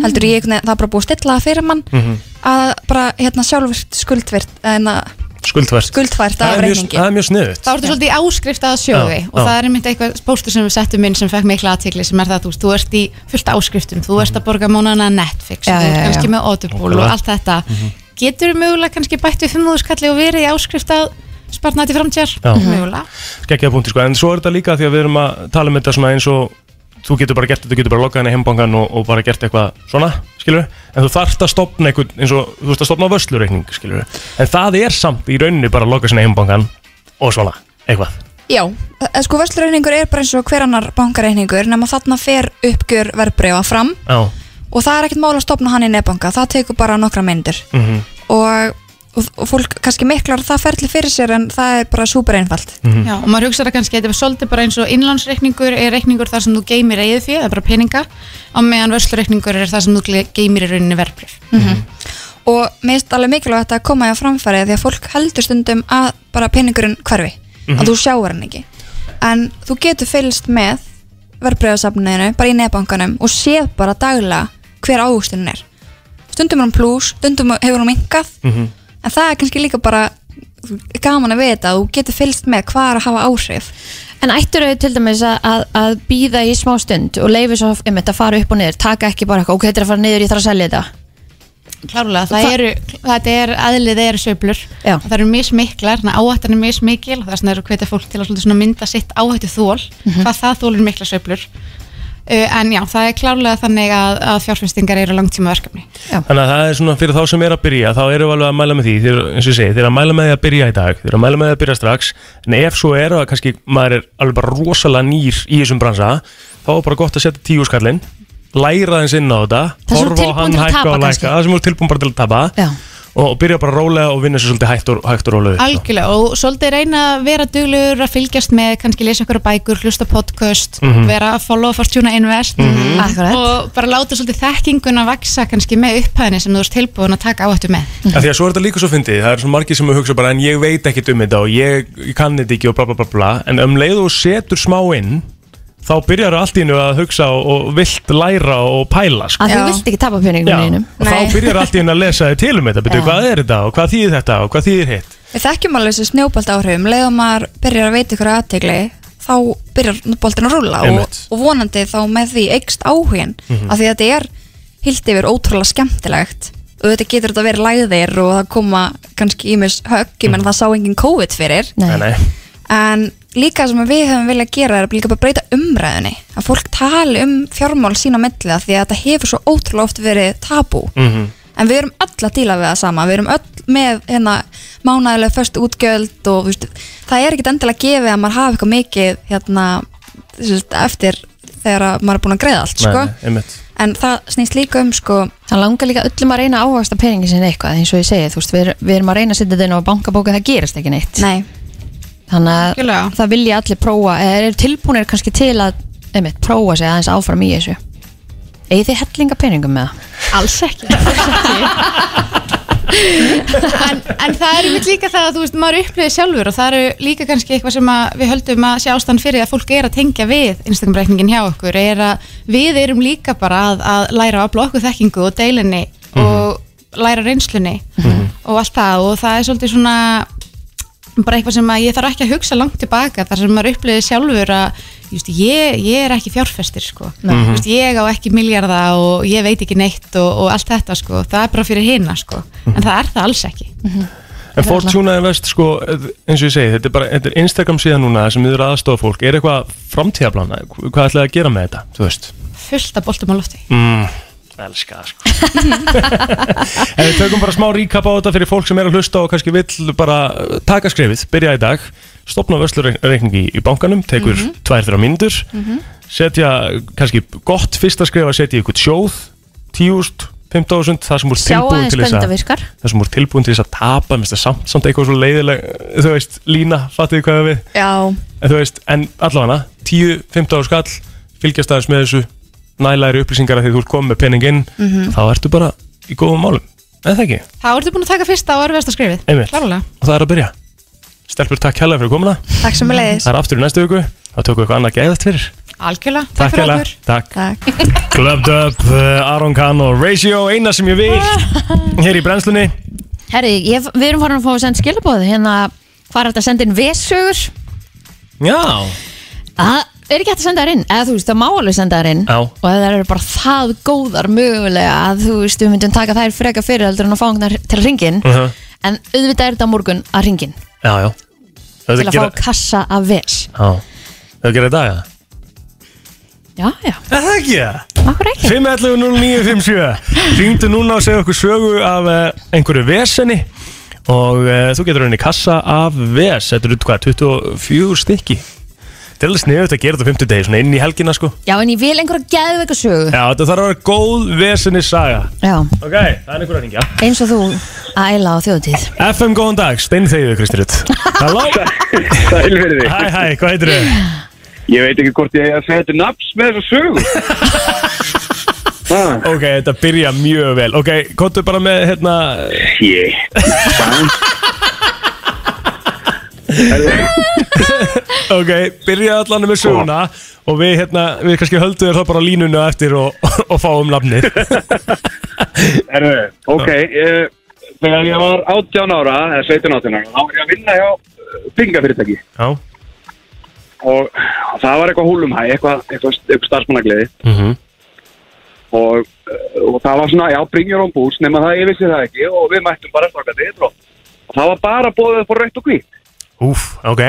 S7: heldur ég, nei, það er bara búið að stilla það fyrir mann að bara hérna sjálfvirt skuldvirt, en að
S2: Skuldvært
S7: skuldfært
S2: Það
S7: af
S2: er mjög,
S7: reyningi
S2: það er mjög sniðut
S8: Þá ertu svolítið í áskrift að sjóði
S2: Já,
S8: og
S2: já.
S8: það er einmitt eitthvað póstur sem við settum inn sem fekk mikla aðtikli sem er það að þú veist, þú ert í fullt áskriftum, þú ert að borga mónana Netflix
S3: Já,
S8: og þú
S3: já,
S8: ert
S3: já.
S8: kannski með Audible og
S2: Ókei.
S8: allt þetta
S2: Mhm.
S8: Getur þú mögulega kannski bætt við 5.000 kalli og verið í áskrift að sparna þetta framtíðar? Mhm.
S2: Já.
S8: Mögulega
S2: Skekkjaða punkti sko En svo er þetta líka því að við erum að tala um þetta svona eins og Þú getur bara gert þetta, þú getur bara loggað henni heimbangan og, og bara gert eitthvað svona, skilur En þú þarft að stopna einhvern, eins og þú veist að stopna vöslureikning, skilur En það er samt í rauninni bara að logga sinni heimbangan og svona, eitthvað
S7: Já, eh, sko verslurreiningur er bara eins og hver annar bankareiningur nema þarna fer uppgjör verbreyfa fram
S2: Já,
S7: og það er ekkert mál að stopna hann í nefnbanka það tekur bara nokkra myndir
S2: Mhm.
S7: og, og, og fólk kannski miklar það ferli fyrir sér en það er bara super einfalt
S2: Mhm.
S8: Já, og maður hugsa það kannski að þetta er svolítið bara eins og innlánsreikningur er reikningur þar sem þú geymir eigið fyrir, það er bara peninga og meðan vörslureikningur er það sem þú geymir í rauninni verbrif.
S7: Mhm. og mér finnst alveg mikilvægt að koma í að framfæri því að fólk heldur stundum að bara peningurinn hverfi, að þú sjáur hann ekki en þú getur fylgst með verbreyðasafninu, bara í nefnbankanum og séð bara daglega hver áhugstunum er stundum er hann pluss, stundum hefur hann minkað en það er kannski líka bara gaman að vita að þú getur fylgst með hvað er að hafa áhrif
S3: En ættir þau til dæmis að, að, að býða í smá stund og leifi svo um þetta að fara upp og niður taka ekki bara eitthvað, ok, þetta er að fara niður, ég þarf að selja þetta
S8: Klárlega, það
S3: Hva-
S8: eru, þetta er aðlið eru sveiflur,
S3: Já.
S8: það eru mismiklar þannig að áhættan er mismikil, það er svona eru hvetja fólk til að svolítið svona mynda sitt áhættu þól hvað það þólur mikla sveiflur uh, en já, það er klárlega þannig að, að fjárfestingar eru langtíma verkefni
S2: Þannig að það er svona fyrir þá sem er að byrja þá eru við alveg að mæla með því þeir, eins og ég segi, þeir eru að mæla með því að byrja í dag þeir eru að mæla með því að byrja strax en ef svo er að kannski maður er alveg bara rosalega nýr í þessum bransa þá er bara gott að setja tíu skallin læra þeins inn á þetta
S3: Það sem
S2: horfa
S3: þú
S2: á
S3: ert tilbúin
S2: hann
S3: til að
S2: hækka
S3: tapa
S2: og
S3: kannski.
S2: lækka það sem þú er tilbúin bara til að tapa
S3: Já.
S2: og byrja bara rólega og vinna sér svolítið hægt og, hægt og rólega upp, sko.
S8: Algjörlega og svolítið reyna að vera duglegur að fylgjast með, kannski lesa ykkur bækur, hlusta á podcast, vera að follow Fortuna Invest
S3: Mhm. Akkurat.
S8: og bara láta svolítið þekkinguna vaksa kannski með upphæðinni sem þú ert tilbúin að taka áhættu með.
S2: Af því að svo er þetta líka svo fyndið, það er svo margir sem hugsa bara en ég veit ekkit um þetta og ég, ég kann þetta ekki og bla bla bla bla en um leið og þú setur smá inn þá byrjar allt í hennu að hugsa og, og vilt læra og pæla sko.
S3: að þú
S7: Já.
S3: vilt ekki tapa peningum
S2: og
S3: einum
S7: Nei.
S2: þá byrjar allt í hennu að lesa þig til um þetta betur
S3: Já.
S2: hvað er þetta og hvað þýðir þetta og hvað þýðir hitt
S7: Við þekkjum alveg þessu snjóbalt áhrifum leiðum maður byrjar að veita ykkur aðtegli þá byrjar boltin að rúlla og,
S2: Einmitt.
S7: og vonandi þá með því eikst áhugin af því að þetta er hildi yfir ótrúlega skemmtilegt og þetta getur þetta verið læðir og það koma kannski ímis högg, ég menn það sá engin COVID fyrir
S3: Nei.
S2: Nei, nei.
S7: en líka sem við höfum viljað gera er að líka bara breyta umræðinni að fólk tali um fjármál sína millið því að þetta hefur svo ótrúlega oft verið tabú
S2: Mhm.
S7: en við erum öll að díla við það sama við erum öll með hérna, mánæðilega först útgjöld og þú veist, það er ekkit endilega gefið að maður hafi eitthvað mikið hérna, þú veist, eftir þegar að maður er búin að greiða allt sko.
S2: nei, einmitt.
S7: en það snýst líka um sko,
S3: Það langar líka öllum að reyna að áhagsta peningin sinni eitthvað eins og ég segi, þú veist, við, við erum að reyna að setja þetta inn á bankabóka, það gerist ekki neitt
S7: nei,
S3: Þannig að
S8: Algjörlega.
S3: það vilja allir prófa eða eru tilbúinir kannski til að einmitt, prófa sig aðeins áfram í þessu Egið þið hellinga peningum með það?
S8: Alls ekki. en, en það er mitt líka það að þú veist, maður upplifið sjálfur og það eru líka kannski eitthvað sem að við höldum að sé ástand fyrir að fólk er að tengja við Instagram-reikningin hjá okkur er að við erum líka bara að, að læra að afla okkur þekkingu og deilinni og læra reynslunni og allt það og það er svolítið svona bara eitthvað sem að ég þarf ekki að hugsa langt tilbaka þar sem maður upplifið sjálfur að just, ég, ég er ekki fjárfestir sko. just, ég á ekki miljarda og ég veit ekki neitt og, og allt þetta sko. það er bara fyrir hina sko. en það er það alls ekki
S2: En Fortuna Invest, sko, eins og ég segi, þetta er bara þetta er Instagram síðan núna sem við erum aðstofa fólk. Er eitthvað framtíðaplana? Hvað ætlaði að gera með þetta, þú veist?
S8: fullt af boltum á lofti
S2: Mm, elska það, sko. en við tökum bara smá recap á þetta fyrir fólk sem er að hlusta og kannski vill bara uh, taka skrifið, byrja í dag, stopna vörslureikningi í bankanum, tekur
S3: Mhm.
S2: mm -hmm. tvær, þrjá mínútur, setja kannski gott fyrsta skrif að setja í eitthvað sjóð, tíust, 5.000, það sem úr
S3: Sjá
S2: tilbúin
S3: aðeins
S2: til þess að
S3: bendavirkar
S2: það sem voru tilbúin til þess að tapa minnst það samt, samt eitthvað svo leiðileg þú veist, lína, fattuðu hvað ég á við
S7: Já,
S2: en þú veist, en allavega 10-15 ára skall, fylgjast aðeins með þessu nælæri upplýsingar að því þú ert komið með peninginn, þá ertu bara í góðum málum, eða það ekki
S8: þá ertu búin að taka fyrsta og erfiðasta skrifið
S2: Einmitt.
S8: klárlega
S2: og það er að byrja Stelpur, takk hella fyrir komuna,
S7: takk sem að leiðis
S2: það er aftur í næstu viku þá tökum við eitthvað annað gæðast fyrir
S8: algjörlega, takk, fyrir
S2: hella,
S8: okkur
S2: takk
S7: Takk
S2: Clubbed Up, uh, Aron Kahn og Ratio eina sem ég vil, hér í brennslunni
S3: Herri, ég, við erum farin að fá að senda skilabóð hérna, hvað er þetta að senda inn vesögur?
S2: Já,
S3: Það er ekki hægt að senda þær inn eða þú veist, það má alveg senda þær inn
S2: Já.
S3: og ef þær eru bara það góðar mögulega að þú veist, við myndum taka þær freka fyrir heldur en að fá fangnar til ringin
S2: Mhm.
S3: en auðvitað er þetta á morgun að ringin
S2: já, já
S3: til að fá kassa af ves
S2: Já, það gerir þetta, já
S3: Já, já,
S2: Er það ekki það?
S3: akkur ekki
S2: 511-0957 Ringdu núna og segja okkur sögu af uh, einhverju veseni og uh, þú getur henni kassa af ves Þetta eru hvað, 24 stykki Þetta er alveg sniðut að gera þetta á 50 degi, svona inn í helgina sko
S3: Já, en ég vil einhverja geðveika sögu
S2: Já, þetta þarf að vera góð veseni saga
S3: Já,
S2: Ok, það er einhver að ringja
S3: eins og þú að eila á þjóðtíð
S2: FM, góðan dag, stein þegiðu Kristirut Halló,
S6: Sæl fyrir því.
S2: hæ, hæ, hvað heitir þau?
S6: Ég veit ekki hvort ég eigi að segja þetta naps með þessa sögu. Ah, Ha,
S2: Ok, þetta byrja mjög vel Ok, kontu bara með, hérna
S6: Ég.
S2: Ok, byrja allan með söguna og við, hérna, við kannski höldum þér þá bara á línunni á eftir og, og fáum nafnið
S6: Erðu, ok. Uh, þegar ég var 18 ára, eða 17 18 ára, þá var ég að vinna hjá byggingafyrirtæki.
S2: Já
S6: Og það var eitthvað húlumhæ, eitthvað, eitthvað, eitthvað starfsmannagliði.
S2: mm -hmm.
S6: Og, eh, og það var svona, já, bring your own boots, nema það ég vissi það ekki og við mættum bara eftir okkar þetta. Og það var bara bóðið upp á rautt og hvít.
S2: Úf, ok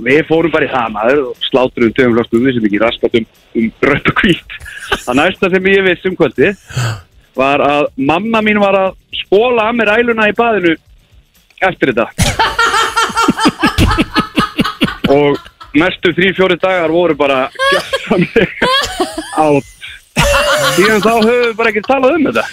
S6: við fórum bara í það maður og slátturum dögum löstum við sem ekki raskat um, um rött og hvít það næsta sem ég vissi um kvöldi var að mamma mín var að skóla að mér æluna í baðinu eftir þetta og næstu þrjú fjóri dagar voru bara gjössamlega átt síðan þá höfum við bara ekki talað um þetta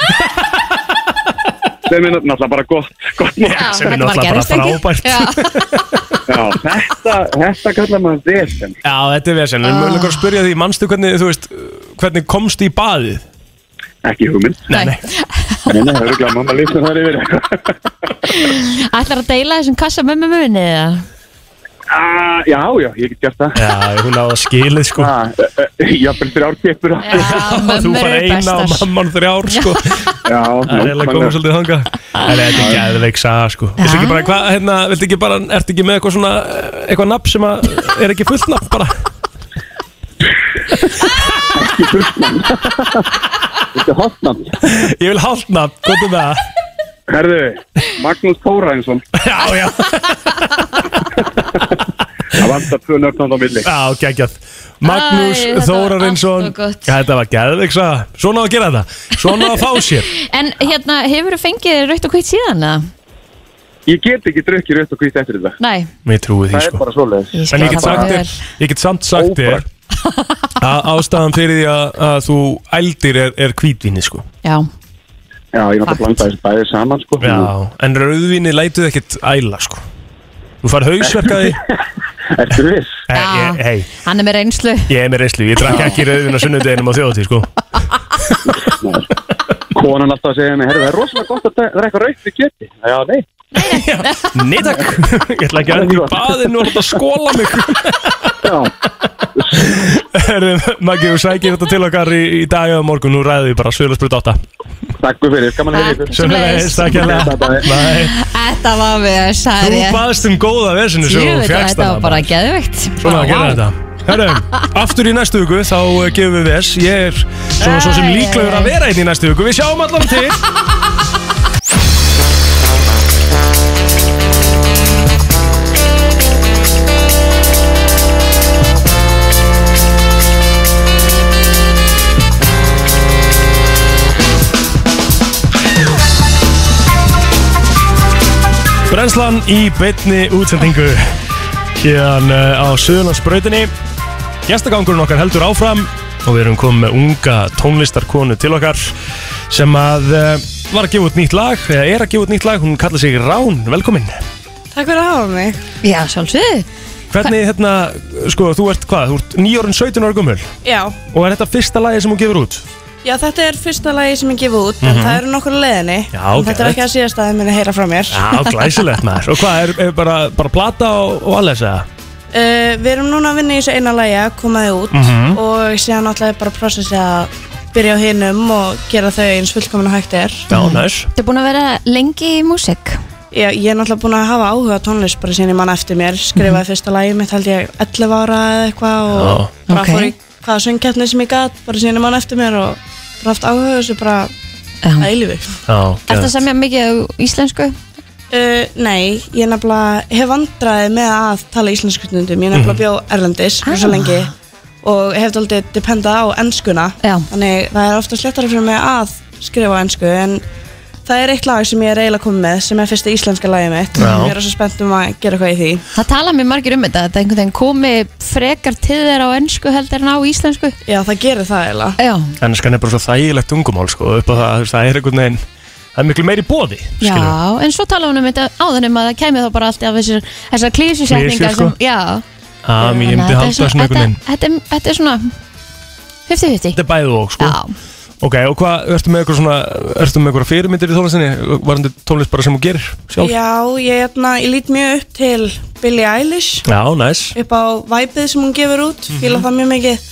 S6: sem er náttúrulega bara gott, gott mál
S3: Já,
S2: Sem er
S3: þetta bara
S2: náttúrulega bara
S3: gerðist ekki.
S2: frábært Já,
S6: Já, þetta, þetta kallar maður DSM
S2: þetta er vesen En mjög lengur að spyrja því, manstu hvernig, þú veist Hvernig komst í baðið?
S6: ekki hugmynd
S2: Nei, nei
S6: Nei, nei, það eru glæð, mamma lýstur þar yfir eitthvað.
S3: Ætlar að deila þessum kassa með með munni eða?
S6: Ah, Já, já, ég get gert það.
S2: Já, hún á að skilið, sko
S6: Ah, Jafnvel þrjár kippur. Já,
S3: Já,
S2: Þú
S3: mömmur
S2: bara
S3: eru
S2: eina og
S3: bestar
S2: mamman þrjár, sko
S6: já.
S2: Það er eiginlega komið svolítið þanga Það er þetta er geðveik saga, sko Viltu ekki bara, hvað, hérna, viltu ekki bara, ertu ekki með eitthvað svona eh, Eitthvað nafn sem að, er ekki fullt nafn bara
S6: Þetta er hotnam.
S2: Ég vil hálft nafn, komdu með það
S6: Herðu, Magnús Kóraðinsson.
S2: Já, já
S6: Það vantar tvö nörðnand á milli.
S2: Já, geggjað Magnús
S3: Æ, þetta var
S2: Þórarinsson
S3: allt og gott.
S2: Þetta var geðveik saga Svona á að gera þetta Svona á að fá sér
S3: En hérna, hefur þú fengið raut og hvitt síðan? eða?
S6: Ég get ekki drukkið rött og hvít eftir þetta.
S3: Nei,
S2: Mér trúi því
S6: Það er
S2: sko
S6: bara svoleiðis.
S3: ég
S2: En
S3: skil
S2: ég get,
S3: það bara
S2: sagt
S3: vel
S2: þér, ég get samt sagt þér
S6: Óbragt.
S2: að ástæðan fyrir því að, að þú ældir er, er hvítvinni sko
S3: Já,
S6: Já, ég náttúrulega
S3: Fakt.
S6: blanda þessi bæði saman, sko.
S2: Já, en rauðvinni lætuð ekkert æla sko Þú fær hausverkaði
S6: Ertu viss?
S2: Hei,
S3: Já.
S2: Eh, hey,
S3: hann er með reynslu
S2: ég er með reyslu, ég drakk ekki rauðvinna sunnudeginum á þjóðatí sko
S6: konan alltaf að segja mig, herru, það er rosalega gott að drekka raukt við kjöti. Já, nei,
S2: Nei takk, ég ætla ekki að enda í baðinu og láta skóla mig sko.
S6: já,
S2: Herðu, Maggi, þú sækir þetta til okkar í, í dag eða morgun, nú ræðum við bara Svölu sprut 8
S6: takk fyrir, gaman að hefði ykkur.
S2: Sömulegis, takk ég
S6: Bye, bye.
S2: Þú
S3: Þetta var við að sagði ég
S2: baðst um góða vesinu sem
S3: Jú,
S2: þú
S3: þetta
S2: fjækst
S3: þetta var bara geðveikt
S2: Svona að gera þetta Herru, aftur í næstu viku þá eh, gefum við ves Ég er svona svo sem líklegur að vera einn í næstu viku Við sjáum allan til Brennslan í beinni útsendingu Héðan uh, á Suðurlandsbrautinni Gestagangurinn okkar heldur áfram Og við erum komið með unga tónlistarkonu til okkar Sem að uh, var að gefa út nýtt lag Eða er að gefa út nýtt lag Hún kallar sig Rán, velkomin
S8: Takk fyrir að hafa mig.
S3: Já, sjálfsög
S2: Hvernig hérna, sko, þú ert hvað? Þú ert nýjórun 17 ára gummul
S8: Já,
S2: Og er þetta fyrsta lagi sem hún gefur út?
S8: já þetta er fyrsta lagi sem ég gefa út, en það eru nokkur á leiðinni.
S2: Mhm. Já,
S8: En Þetta er
S2: geðveikt.
S8: ekki að síðast að þið minna heyra frá mér.
S2: Já, glæsilegt maður Og hvað, er, er bara, bara plata og, og alveg þess að?
S8: Uh, við erum núna að vinna í þessu eina lagi að koma þið út
S2: Mhm.
S8: og síðan náttúrulega er bara að processa að byrja á hinum og gera þau eins fullkomin og hægt er.
S2: Já, næs
S3: Þetta er búin að vera lengi í músík
S8: Já, ég er náttúrulega búin að hafa áhuga á tónlist bara síðan ég mann eftir mér, skrifaði fyrsta lagi mitt held ég 11 ára eða eitthvað og
S2: Mhm. Já.
S8: bara
S3: Ok.
S8: fór í hvaða söngkeppni sem ég gat bara síðan ég mann eftir mér og bara haft áhuga á þessu bara að eilífi.
S2: Já,
S3: Er það semja mikið á íslensku?
S8: Uh, nei, ég nefnilega hef vandraði með að tala íslensku stundum Ég nefnilega bjó Erlendis ah. svo lengi og hef aldrei dependað á ennskuna
S3: Já.
S8: Þannig það er ofta slettara fyrir mig að skrifa á ennsku En það er eitt lag sem ég er eiginlega komið með sem er fyrsta íslenska lagið mitt
S2: Já.
S8: Ég er svo spennt um að gera eitthvað í því
S3: Það tala mér margir um þetta Þetta einhvern veginn komi frekar til þeirra á ennsku heldur en á íslensku
S8: Já, það gerir það eiginlega
S3: Já,
S2: Ennskan er bara svo þægilegt tungumál sko, upp á það, þú veist, það er einhvern veginn það er miklu meiri bóði,
S3: já, en svo tala hún um þetta áðan um að það kæmi þá bara allt af þessar, þessar klísusetningar
S2: Klisjur, sko.
S3: sem, Já,
S2: að mér myndi
S3: Þannig að
S2: halda
S3: þetta er
S2: svona einhvern veginn
S3: þetta- þetta er- Þetta er svona 50-50
S2: Þetta er bæðið og sko
S3: Já,
S2: Ok, og hvað, ertu með eitthvað svona ertu með eitthvað fyrirmyndir í tónlistinni varandi tónlist bara sem hún gerir sjálf?
S8: Já, ég, jæna, ég lít mjög upp til Billie Eilish
S2: Já, næs
S8: upp á væpið sem hún gefur út,
S2: Mhm.
S8: fíla það mjög mikið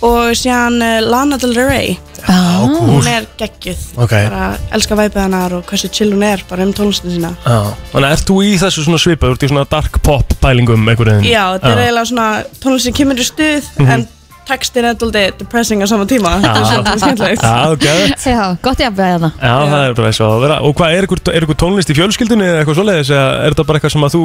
S8: og síðan uh, Lana Del Rey
S3: já,
S8: hún er geggjuð
S2: Ok.
S8: bara elska væpið hennar og hversu chill hún er bara um tónlistin sína
S2: Já. Þannig að ert þú í þessu svona svipað, þú ert í svona dark pop pælingum einhvern veginn
S8: já, þetta er eiginlega svona tónlistin kemur í stuð
S2: Mhm.
S8: en textin er alltaf depressing á sama tíma þetta er svolítið skemmtilegt
S2: Já, ok
S3: já, gott ég að bæða það
S2: Já, það er bara eins og að vera Og hvað, er eitthvað, er eitthvað tónlist í fjölskyldunni eða eitthvað svoleiðis eða er þetta bara eitthvað sem að þú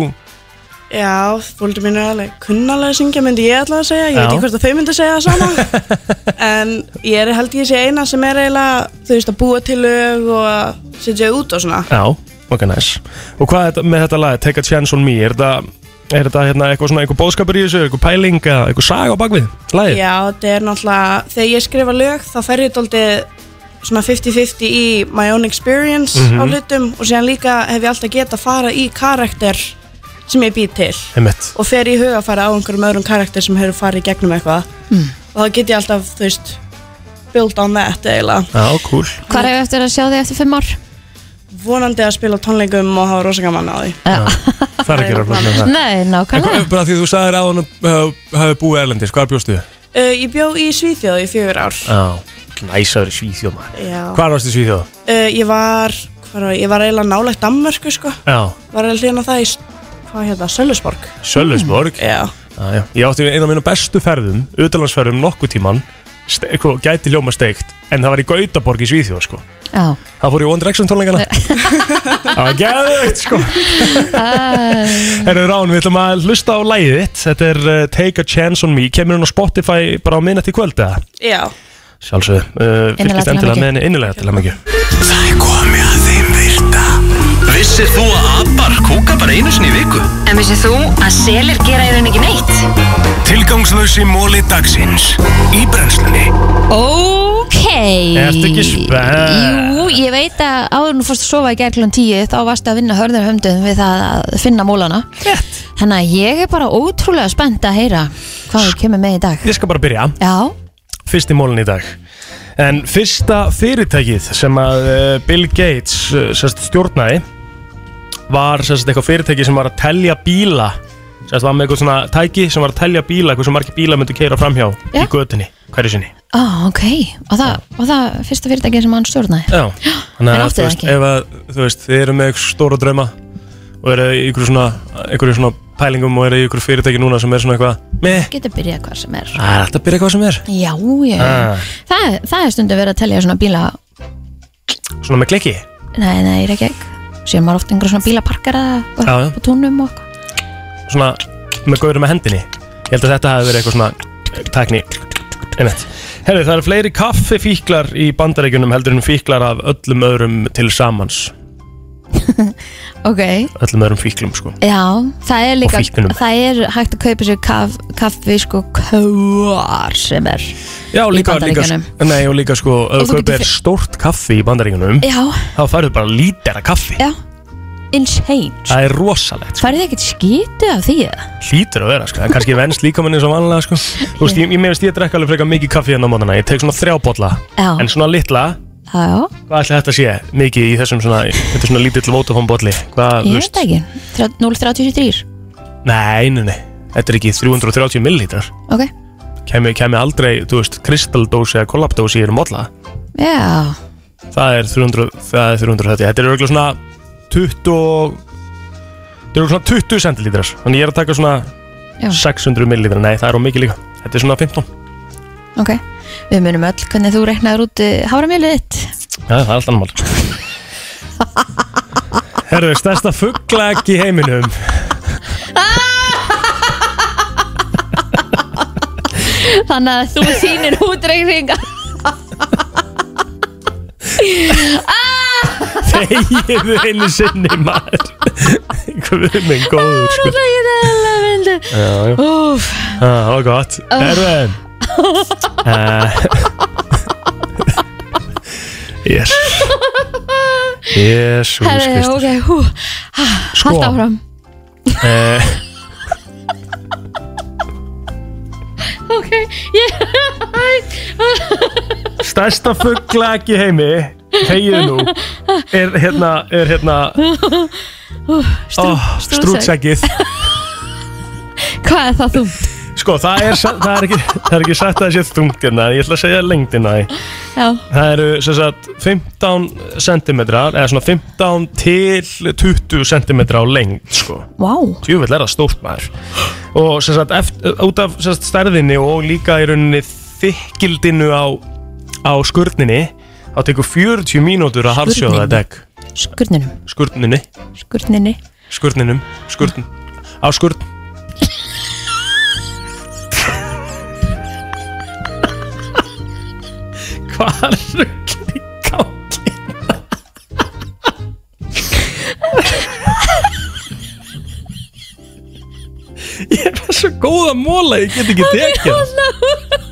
S8: já, fólkið mín er alveg kunnalega að syngja myndi ég alltaf að segja, ég veit
S2: Já.
S8: ekki hvort að þau myndi að segja það sama en ég er held ég sé eina sem er eiginlega þú veist að búa til lög og að setja þau út og svona
S2: Já, ok, næs Og hvað er þetta, með þetta lag, Take a Chance on Me Er þetta, er þetta hérna, eitthvað svona, eitthvað bóðskapur í þessu Eitthvað pæling, eða eitthvað saga á bakvið Lagið?
S8: Já, þetta er náttúrulega, þegar ég skrifa lög þá fer ég daldið svona 50-50 í my own experience á hlutum og síðan líka hef ég alltaf getað að fara í karakter sem ég býð til
S2: Einmitt.
S8: og fer í hugafæra á einhverjum öðrum karakter sem hefur farið í gegnum eitthvað og þá get ég alltaf, þú veist, build on that eiginlega.
S2: Já, cool
S3: Hvað er eftir að sjá þig eftir 5 ár?
S8: Vonandi að spila á tónleikum og hafa rosa gaman á því.
S2: Það er ekki raflega með það
S3: Nei,
S2: En hvað
S3: nákvæmlega
S2: er bara því þú sagðir að hann hafi búið erlendis, hvað bjóstu þið?
S8: Uh, ég bjó í Svíþjóð í fjögur ár.
S2: Já, næsaður í Svíþjóð maður
S8: Já.
S2: Hvað varst í Svíþjóð?
S8: Uh, ég var, hvað var, ég var eiginlega nálægt Danmörku sko.
S2: Já,
S8: Var eiginlega hlýðin á það í, s- hvað hérna, Sölvesborg.
S2: Sölvesborg Já,
S8: Já.
S2: já. Ég átti eina af mínum bestu ferðum, utalansferðum nokkuð tíman Eitthvað sko, gæti hljóma steikt En það var í Gautaborg í Svíþjóð sko
S3: Já,
S2: Það fór í One Direction tónleikana Það var geðveikt sko Herru Rán, við ætlum að hlusta á lægið þitt Þetta er uh, Take a Chance on Me Kemur hún á Spotify bara á minnætt í kvöld eða?
S8: Já,
S2: Sjálfsög, uh,
S3: Innilega
S2: fylgist
S3: til
S2: endilega
S3: hamingju.
S2: með henni innilega til að mikið
S1: Það er komið að þeim virta. Vissir þú að abar kúka bara einu sinni í viku?
S9: En vissið þú að selir gera í raun ekki neitt?
S1: Tilgangslösi móli dagsins í brennslunni.
S3: ok
S2: Ertu ekki spennt?
S3: Jú, ég veit að áður nú fórst að sofa í gær klun 10 þá varst að vinna hörður hömduðum við það að finna mólana Rétt. Þannig að ég er bara ótrúlega spennt að heyra hvað við kemur með í dag
S2: Ég skal bara byrja
S3: Já,
S2: Fyrst í mólinn í dag En fyrsta fyrirtækið sem að eh, Bill Gates eh, sérst, stjórnaði var sérst, eitthvað fyrirtæki sem var að telja bíla sérst, var með eitthvað svona tæki sem var að telja bíla hversu margir bíla myndu keira framhjá í
S3: Já.
S2: götunni hverju sinni
S3: Á, ok, og það, og það fyrsta fyrirtæki sem hann stjórnaði
S2: Já, þannig
S3: en
S2: að
S3: átti
S2: þú
S3: það
S2: veist,
S3: ekki.
S2: ef að, þú veist, þið eru með eitthvað stóra drauma og eru í ykkur svona, ykkur svona pælingum og eru í ykkur fyrirtæki núna sem er svona eitthvað meh,
S3: Getur byrjað hvað sem er
S2: það er alltaf að byrja eitthvað sem er
S3: Já, já
S2: Ah.
S3: það, það er stundum verið að telja svona bíla
S2: Svona með klikki
S3: Nei, nei, ég er ekki ekki Sér maður oft einhver svona bílaparkara og
S2: Já, já.
S3: og túnum og eitthvað
S2: Svona með gaurum með hendinni Ég held að þetta hafi verið eitthvað svona tækni Einmitt Herri, það eru fleiri kaffifíklar í bandaríkjunum heldur en fíklar af öllum öðrum til samans
S3: Ok,
S2: Öllum öðrum fíklum, sko
S3: já, það er líka
S2: fíkninum.
S3: Það er hægt að kaupa sér kaf, kaffi sko hvar sem er
S2: Já, líka, líka,
S3: Bandaríkjunum.
S2: nei, og líka sko
S3: Og
S2: ef
S3: þú
S2: þú
S3: getur
S2: kaupir stórt kaffi í bandaríkjunum
S3: Já,
S2: þá færðu bara lítera kaffi
S3: já, insane
S2: Það er rosalegt, sko.
S3: Færið þið ekkert skítið af því eða?
S2: hlýtur að vera, sko. En kannski venst líkamann eins og vanlega, sko. Þú veist, ég, ég meðist ég drekka alveg frekar mikið kaffi hérna á mótana. Ég tek svona þrjá bolla,
S3: Já,
S2: en svona litla,
S3: já,
S2: hvað ætli þetta sé mikið í þessum svona, þetta er svona lítill vótafón bolli? Hvað,
S3: ég veit það ekki Þrjá- 0,33
S2: Nei, nei, nei, þetta er ekki 330 millilítrar.
S3: Ok,
S2: Kæmi, kæmi aldrei, þú veist, kristaldósi eða kollabdósi í einu bolla.
S3: já,
S2: Það er 300, það er 330. Þetta er örgulega svona 20, og- þetta er örugglega svona 20 centilítrar. Þannig ég er að taka svona
S3: Já.
S2: 600 millilítrar. Nei, það er of mikið líka. Þetta er svona 15.
S3: ok Við munum öll hvernig þú reiknaður út háramjölið þitt
S2: Já, það er allt annar mál Herru, stærsta fugglag í heiminum
S3: Þannig að þú þínir útreikninga
S2: Þegiðu einu sinni maður Guð minn góður sko.
S3: Það er alveg vildi
S2: Já, já,
S3: Úf,
S2: Ah, það var gott Herru uh, Yes Jésús
S3: herri,
S2: Kristur
S3: ok, hú
S2: Sko,
S3: Hald áfram
S2: eh,
S3: Ok, ég
S2: Stærsta fugglag í heimi Þegiðu nú Er hérna, er hérna oh, Strútsækið
S3: Hvað er það þú?
S2: Sko, það er, það er, ekki, það er ekki sagt að það sé þungt hérna, en ég ætla að segja lengdina því.
S3: Já,
S2: Það eru sem sagt 15 cm, eða svona 15 til 20 cm á lengd, sko.
S3: vá
S2: Tjúvill er það stórt maður. Og sem sagt, eftir, út af sem sagt, stærðinni og líka í rauninni þykkildinu á, á skurninni, þá tekur 40 mínútur að harðsjóða
S3: Skurninni?
S2: þetta egg.
S3: Skurninum,
S2: Skurninni,
S3: skurninni
S2: skurninum, skurn, á skurn. Hvað ruggli gangi? Ég er bara svo góð að móla, ég get ekki tekið það.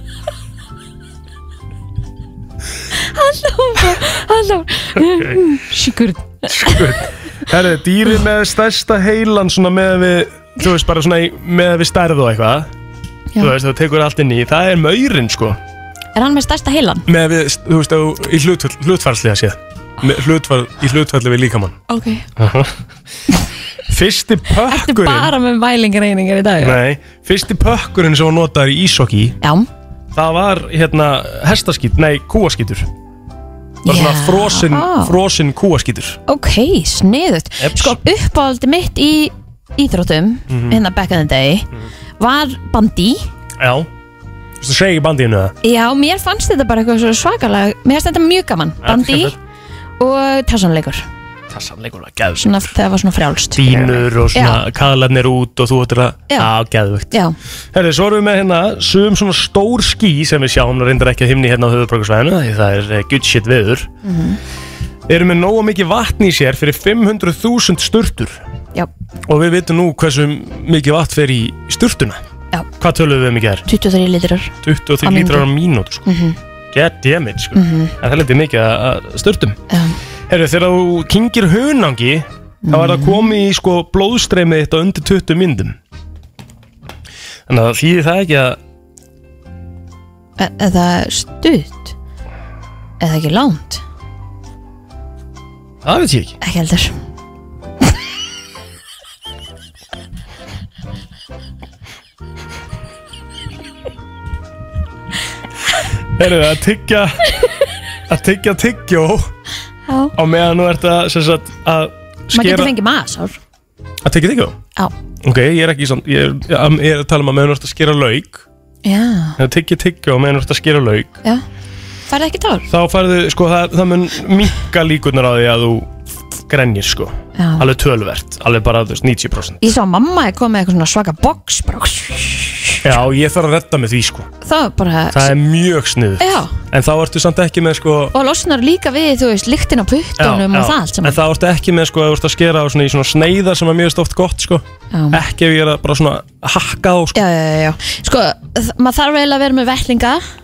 S3: Halló, skurn
S2: Herri, dýri með stærsta heilan svona með við, þú veist, bara svona í- með við stærð og eitthvað
S3: Já.
S2: Þú veist, þú tekur allt inn í, það er maurinn sko
S3: Er hann með stærsta heilan?
S2: Með við, þú veist, á- í hlutfall, hlutfallslega séð Með hlutfall, Í hlutfalli við líkamann
S3: Ok
S2: Fyrsti
S3: Ertu
S2: pökkurinn
S3: bara með mælingreiningar í dag?
S2: Nei, fyrsti pökkurinn sem hún notaður í ísokki
S3: Já
S2: Það var, hérna, hestaskít, nei, kúaskítur Það var svona
S3: Já. Ah.
S2: frosin, frosin kúaskítur
S3: Ok, sniðut
S2: Eps. Mhm.
S3: Sko, uppáhaldi mitt í íþróttum hérna back in the day var bandi
S2: Já Þú veist, það segi í bandinu það
S3: Já, mér fannst þetta bara eitthvað svo svakalega Mér fannst þetta mjög gaman Bandi
S2: skemmtilegt.
S3: og tassanleikur
S2: Það er sannleikur að geðs
S3: Svona, það var svona frjálst
S2: dýnur og svona kaðlarnir út og þú ættir að
S3: Já.
S2: á, geðvögt.
S3: Já,
S2: Herri, svo erum við með hérna sum svona stór ský sem við sjáum og reyndar ekki að himni hérna á höfuðbrókarsvæðinu því það er eh, good shit veður mm
S3: Mhm.
S2: eru með nógu mikið vatn í sér fyrir 500.000 sturtur
S3: já,
S2: og við vitum nú hversu mikið vatn fer í sturtuna
S3: Já.
S2: Hvað tölum við um í gerð?
S3: 23 litrar
S2: 23
S3: Á Mhm. mínútu.
S2: lítrar á mínútu sko. mm -hmm. God damn it sko. En það leti mikið að- að störtum
S3: Já.
S2: Herru, þegar þú kingir hunangi þá er
S3: Mhm.
S2: það komið í sko blóðstreymið þitt á undir 20 myndum Þannig að það þýðir það ekki að
S3: E- Eða stutt eða ekki lánt
S2: Það veit ég ekki
S3: ekki heldur
S2: Herru, að tyggja Að tyggja tyggjó
S3: Já.
S2: Á meðan nú ert að, sem sagt, að
S3: maður
S2: skera
S3: getur fengið masár
S2: Að tyggja tyggjó?
S3: Já.
S2: Ok, ég er ekki svona Ég er, ég er að tala um að meðan þú ert að skera lauk
S3: já,
S2: Að tyggja tyggjó á meðan þú ert að skera lauk
S3: já færði ekki tár
S2: Þá færðu, sko, það, það mun minka líkurnar á því að þú grenjir, sko
S3: já.
S2: Alveg tölvert, alveg bara, þú veist, 90%
S3: ég sá að mamma er komið með eitthvað svona svaka box bara,
S2: Já, ég þarf að redda með því, sko
S3: það var bara
S2: Það er mjög sniðu
S3: já,
S2: En þá ertu samt ekki með, sko
S3: og losnar líka við þú veist, lyktin á puttunum og það allt
S2: En
S3: saman
S2: þá ertu ekki með, sko, að þú ert að skera á svona, í svona sneiðar sem er mjög stóft gott, sko
S3: já.
S2: Ekki ef ég er að bara svona hakka á, sko
S3: já, já, já, já sko, þ- maður þarf eiginlega að vera með vellinga eða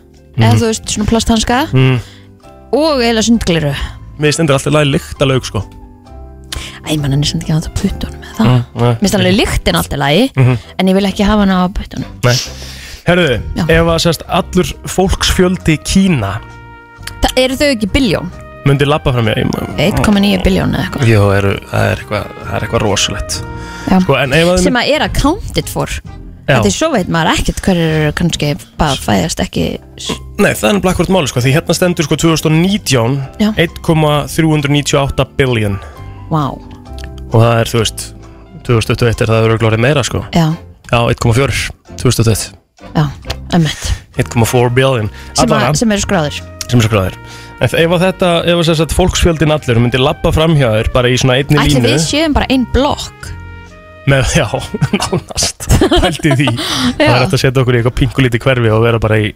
S2: Mhm.
S3: þú veist, svona plasthanska
S2: Mm.
S3: og eiginlega sundgliru
S2: Mér stendur alltaf lagi líkt að lauk, sko
S3: æ, mann hann er svona ekki að það puttunum með það mm.
S2: Mér
S3: Mér finnst alveg lyktin alltaf lægi,
S2: Mhm.
S3: en ég vil ekki hafa hana á puttunum.
S2: Herðu,
S3: Já.
S2: ef að sérst allur fólksfjöldi Kína
S3: Það eru þau ekki biljón?
S2: myndi labba fram í ég,
S3: 1,9 biljón eða eitthvað.
S2: Jó, eru, það er eitthvað það er eitthvað rosalegt
S3: Já.
S2: sko, en ef að
S3: Sem að er accounted for.
S2: já,
S3: Þetta er svo veit maður ekkert hverjir eru kannski bara fæðast ekki. s-
S2: nei, það er nefnilega akkurat máli sko, því hérna stendur sko 2019
S3: Já.
S2: 1,398 billion
S3: Vá,
S2: og það er, þú veist 2021 er það eru glórið meira sko
S3: já,
S2: já, 1,4 2021
S3: já, ömmett.
S2: 1,4 billion
S3: Sem, að-
S2: Allavega,
S3: sem eru skráðir.
S2: sem er skráðir en ef að þetta, ef að þess að fólksfjöldin allir myndi labba framhjáður bara í svona einni
S3: Ætli
S2: línu
S3: við séum bara einn blokk.
S2: með, já, nánast pældi því, það er hægt að setja okkur í eitthvað pingulíti hverfi og vera bara í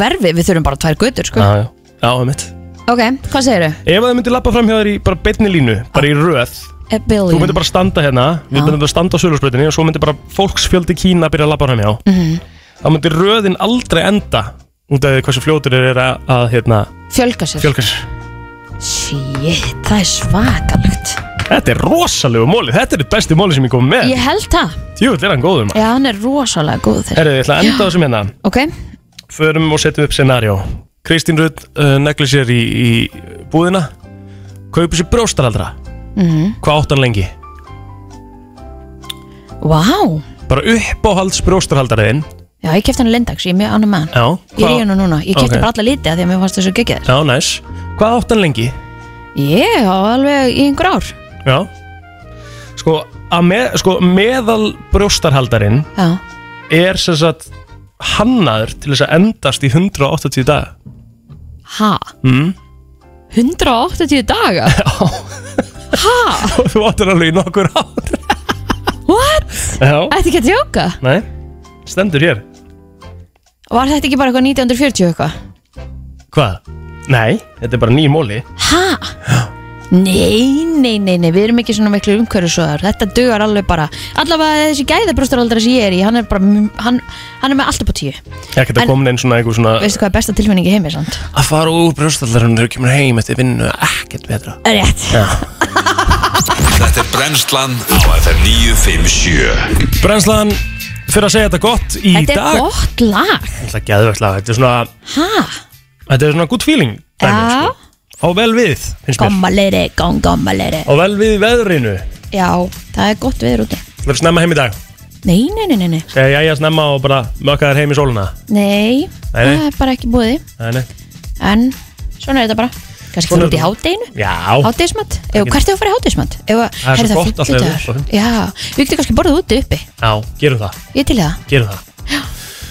S3: Hverfi, við þurfum bara tvær götur, sko.
S2: já, já, já, mitt
S3: Ok, hvað segirðu?
S2: Ef það myndi lappa fram hjá þér í bara beinni línu, bara
S3: Ah.
S2: í röð
S3: A billion.
S2: Þú myndi bara standa hérna, við
S3: Já.
S2: myndum bara standa á sölursbreytinni og svo myndi bara fólksfjöldi Kína byrja að lappa fram hjá
S3: Mhm.
S2: Þá myndi röðin aldrei enda út af því hversu fljótur þeir eru að, að hérna,
S3: Fjölga sér.
S2: fjölga sér
S3: Shit, það er svakalegt.
S2: Þetta er rosalegu móli, þetta er þitt besti móli sem ég kom með
S3: Ég held það.
S2: Jú, er hann góður maður
S3: Já, hann er rosalega góð þér.
S2: Herðu, ég ætla að enda þessum hérna
S3: Ok,
S2: Förum og setjum upp scenarió Kristín Rutt uh, negli sér í, í búðina Kaupir sér brjóstaraldra
S3: Mhm.
S2: Hvað átt hann lengi?
S3: vá.
S2: Bara uppáhalds brjóstaraldariðin
S3: Já, ég kefti hann lindags, ég er mjög annað með hann.
S2: Já,
S3: Ég er í hennu núna, ég kefti
S2: Ok.
S3: bara alla lítið af því að mér fannst þessu geggjæður
S2: Já, næs. Hvað átt hann lengi?
S3: Ég á alveg í einhver ár
S2: Já. Sko, að með, sko meðal brjóstarhaldarinn
S3: Já,
S2: er sem sagt hannaður til þess að endast í 180 daga.
S3: ha,
S2: Mm.
S3: 180 daga Ha,
S2: Þú áttur alveg í nokkur ár.
S3: what?
S2: Já.
S3: Ætti ekki að tjóka?
S2: Nei, stendur hér.
S3: Var þetta ekki bara eitthvað 1940 eitthvað?
S2: Hvað? Nei, þetta er bara nýjum móli.
S3: Ha? Nei, nei, nei, nei, við erum ekki svona miklu umhverfisöðar Þetta dugar alveg bara Allavega þessi gæðabrústaraldra sem ég er í Hann er bara, m- hann, hann er með alltaf på tíu
S2: Ég geta
S3: En-
S2: komin einn svona einhver svona...
S3: Veistu hvað er besta tilfinningi heimi samt?
S2: Að fara úr brjóstarhaldarinn þegar þú kemur heim eftir vinnu er ekkert betra.
S3: Rétt
S1: Þetta er brennslan á FM 957
S2: Brennslan, fyrir að segja þetta gott í
S3: Þetta er
S2: dag.
S3: gott lag
S2: Þetta er geðvögt lag, þetta er svona...
S3: Ha?
S2: Þetta er svona good feeling dæmi,
S3: Já.
S2: sko. Á vel við, finnst mér
S3: Gommaleri, gong gommaleri
S2: Á vel við veðrinu
S3: Já, það er gott viður úti
S2: Verður snemma heim í dag
S3: Nei, nei, nei, nei, nei,
S2: Segja jæja snemma og bara mökka þér heim í sóluna
S3: nei,
S2: Nei,
S3: það
S2: nei,
S3: er bara ekki búið
S2: nei, nei.
S3: En svona er þetta bara Kannski
S2: Svona
S3: fyrir
S2: er
S3: út í
S2: þetta.
S3: hádeginu
S2: Já,
S3: Hádegismat, Ef- hvert er að fara í hádegismat? Ef-
S2: Það er svo
S3: Herri,
S2: gott sko. alltaf
S3: fimmtudagur.
S2: yfir uppá.
S3: Já, við getum kannski borðið úti uppi
S2: já, gerum það,
S3: Ég er til í það
S2: gerum það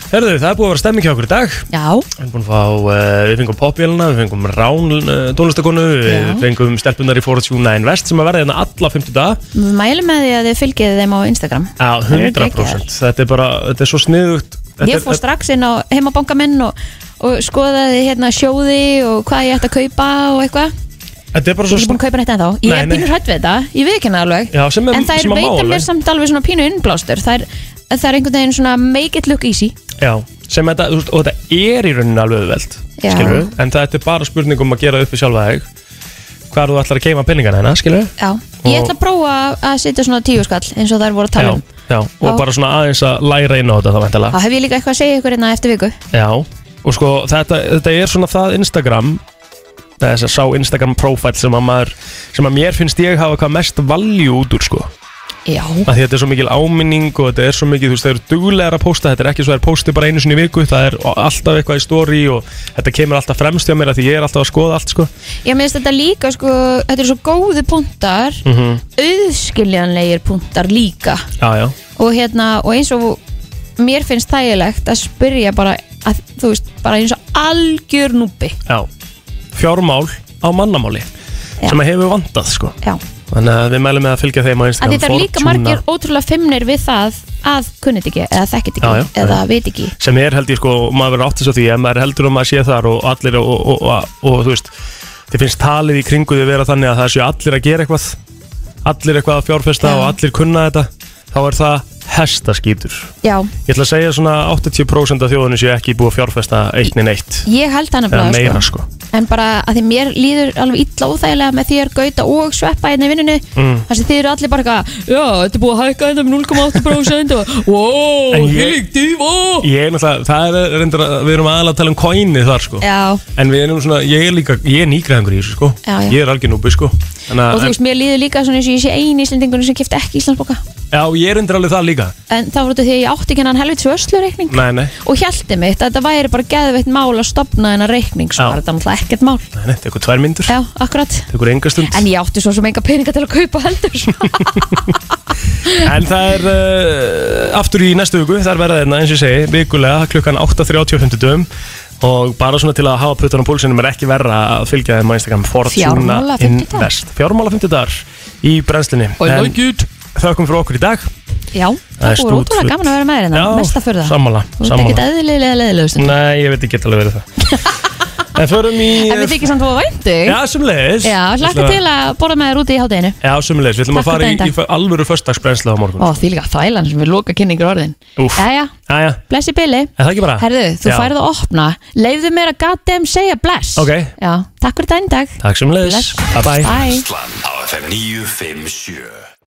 S2: Herðu, það er búið að vera stemming hjá okkur í dag
S3: Já,
S2: Við erum búin að fá, uh, við fengum popjálina, við fengum rán uh, tónlistakonu Við
S3: Já.
S2: fengum stelpunar í Fortune 9 West sem að verða hérna alla 50 daga
S3: við mælum með því að þið fylgið þeim á Instagram
S2: Já,
S3: eru
S2: 100% Þetta er bara, þetta er svo sniðugt Þetta
S3: Ég
S2: er-
S3: fór strax inn á heimabanka minn og, og skoðaði hérna sjóði og hvað ég ætti að kaupa og eitthvað
S2: Þetta er bara
S3: Ég er
S2: svo
S3: ekki búin að kaupa neitt ennþá Ég
S2: Nei,
S3: er
S2: nei.
S3: pínur hrætt við þetta, ég veit ekki alveg
S2: Já, sem er-
S3: En
S2: sem
S3: það er
S2: að má
S3: veita
S2: alveg.
S3: mér samt alveg svona pínu innblástur Það er, það er einhvern veginn svona make it look easy
S2: Já, sem þetta, þú veist, og þetta er í rauninni alveg auðveld,
S3: Já.
S2: skilur við En þetta er bara spurning um að gera upp við sjálfa þig Hvar þú ætlar að keima peningana hérna, skilur við
S3: Já, ég ætla að prófa að setja svona tíu skall eins og það er voru að tala um
S2: já, já, og
S3: Já.
S2: bara svona aðeins að læra inn á þetta þá
S3: Þá
S2: væntalega
S3: hef ég líka eitthvað að segja ykkur hérna eftir viku
S2: Já, og sko, þetta, þetta er svona það Instagram þetta þess að sá Instagram profile sem að maður sem að mér finnst ég hafa hvað mest valjú út úr sko
S3: Já,
S2: að því þetta er svo mikil áminning og þetta er svo mikil, þú veist, það eru duglegar að posta þetta er ekki svo að það er postið bara einu sinni í viku það er alltaf eitthvað í story og þetta kemur alltaf fremst hjá mér að því ég er alltaf að skoða allt sko
S3: ég meðist þetta líka sko, þetta er svo góði punktar
S2: mm -hmm.
S3: auðskiljanlegir punktar líka
S2: Já, já,
S3: og hérna, og eins og mér finnst þægilegt að spyrja bara að, þú veist, bara eins og algjör núbi
S2: já fjármál á mannamáli
S3: Já.
S2: sem að hefur vantað sko
S3: Já,
S2: þannig að við mælum með að fylgja þeim á
S3: að
S2: Instagram
S3: þetta er líka
S2: Fortuna,
S3: margir ótrúlega feimnir við það að kunnit ekki, eða þekkit
S2: Já, já,
S3: ekki, eða
S2: já.
S3: veit ekki
S2: sem er held ég sko, og maður verður áttist á því að maður heldur um að maður sé þar og allir og, og, og, og, þú veist þið finnst talið í kringu því vera þannig að það séu allir að gera eitthvað allir eitthvað að fjárfesta og allir kunna þetta þá er það hestaskítur
S3: Já,
S2: ég ætla að segja svona 80% af þjóðinu séu ekki búið að fjárfesta eitt neinn eitt
S3: ég held hana
S2: eða
S3: bara,
S2: meira
S3: sko.
S2: sko
S3: en bara að því mér líður alveg illa óþægilega með þér gauta og sveppa hérna í vinnunni
S2: Mm.
S3: þannig að þið eru allir bara eitthvað já, þetta er búið að hækka hérna um þetta með 0,8% og wow,
S2: En ég-
S3: hýlík dýfa
S2: ég er náttúrulega, það er reyndar að við erum aðalega að tala um coinið þar sko
S3: Já,
S2: en við erum svona, ég er líka, ég er nýgræðingur í þessu sko
S3: Já, já.
S2: ég er algjör núbi sko Þannig
S3: og
S2: að,
S3: þú
S2: en,
S3: veist, mér líður líka svona eins og ég sé eini íslendingunum sem kipta ekki Íslandsboka
S2: já, ég er reyndar alveg það líka
S3: en það var þetta því að ég átti ekki hennan helvits vörslureikning
S2: nei, nei,
S3: og hjælti mitt að þetta væri bara geðveitt mál að stopna hennar reikning sem
S2: Já.
S3: var þetta náttúrulega ekkert mál
S2: nei, nei, tekur tvær myndur
S3: Já, akkurat
S2: tekur enga stund
S3: En ég átti svo sem enga peninga til að kaupa heldur sko.
S2: En það er uh, aftur í næstu viku, það er verða þeirna eins og ég segi, vikulega klukkan 8.35 dögum og bara svona til að hafa puttan á pólsinum er ekki verra að fylgja þeim á Instagram Fortuna
S3: Fjármála fimmtudagar.
S2: Invest Fjármála 50 dagar í brennslinni En Þökkum fyrir okkur í dag
S3: Já,
S2: Það er
S3: það voru ótrúlega
S2: stútfull.
S3: gaman að vera með
S2: Já,
S3: hérna Mesta fyrir það
S2: sammála,
S3: Þú ert ekkert
S2: sammála.
S3: eðlilega leðilega stund
S2: Nei, ég veit ekki geta alveg verið það En förum í
S3: En við þykir samt að það væntu
S2: Já, sumleis
S3: Já, hlakka til að borða með þér úti í hátæðinu
S2: Já, sumleis, við ætlum
S3: Takk
S2: að fara
S3: fyrir
S2: í,
S3: daginn
S2: í alvöru föstagsbrennsla á morgun
S3: Ó, því líka þælan sem við loka kynningur orðin
S2: Úff.
S3: Jæja,
S2: Jæja,
S3: blessi Billy
S2: er það ekki bara?
S3: Herðu, þú
S2: Já.
S3: færðu að opna Leifðu mér að goddamn segja bless
S2: Ok.
S3: Já, takk fyrir daginn í dag
S2: Takk sumleis,
S3: Bless.
S2: bye bye
S3: Bye
S1: Brennslan á FM 957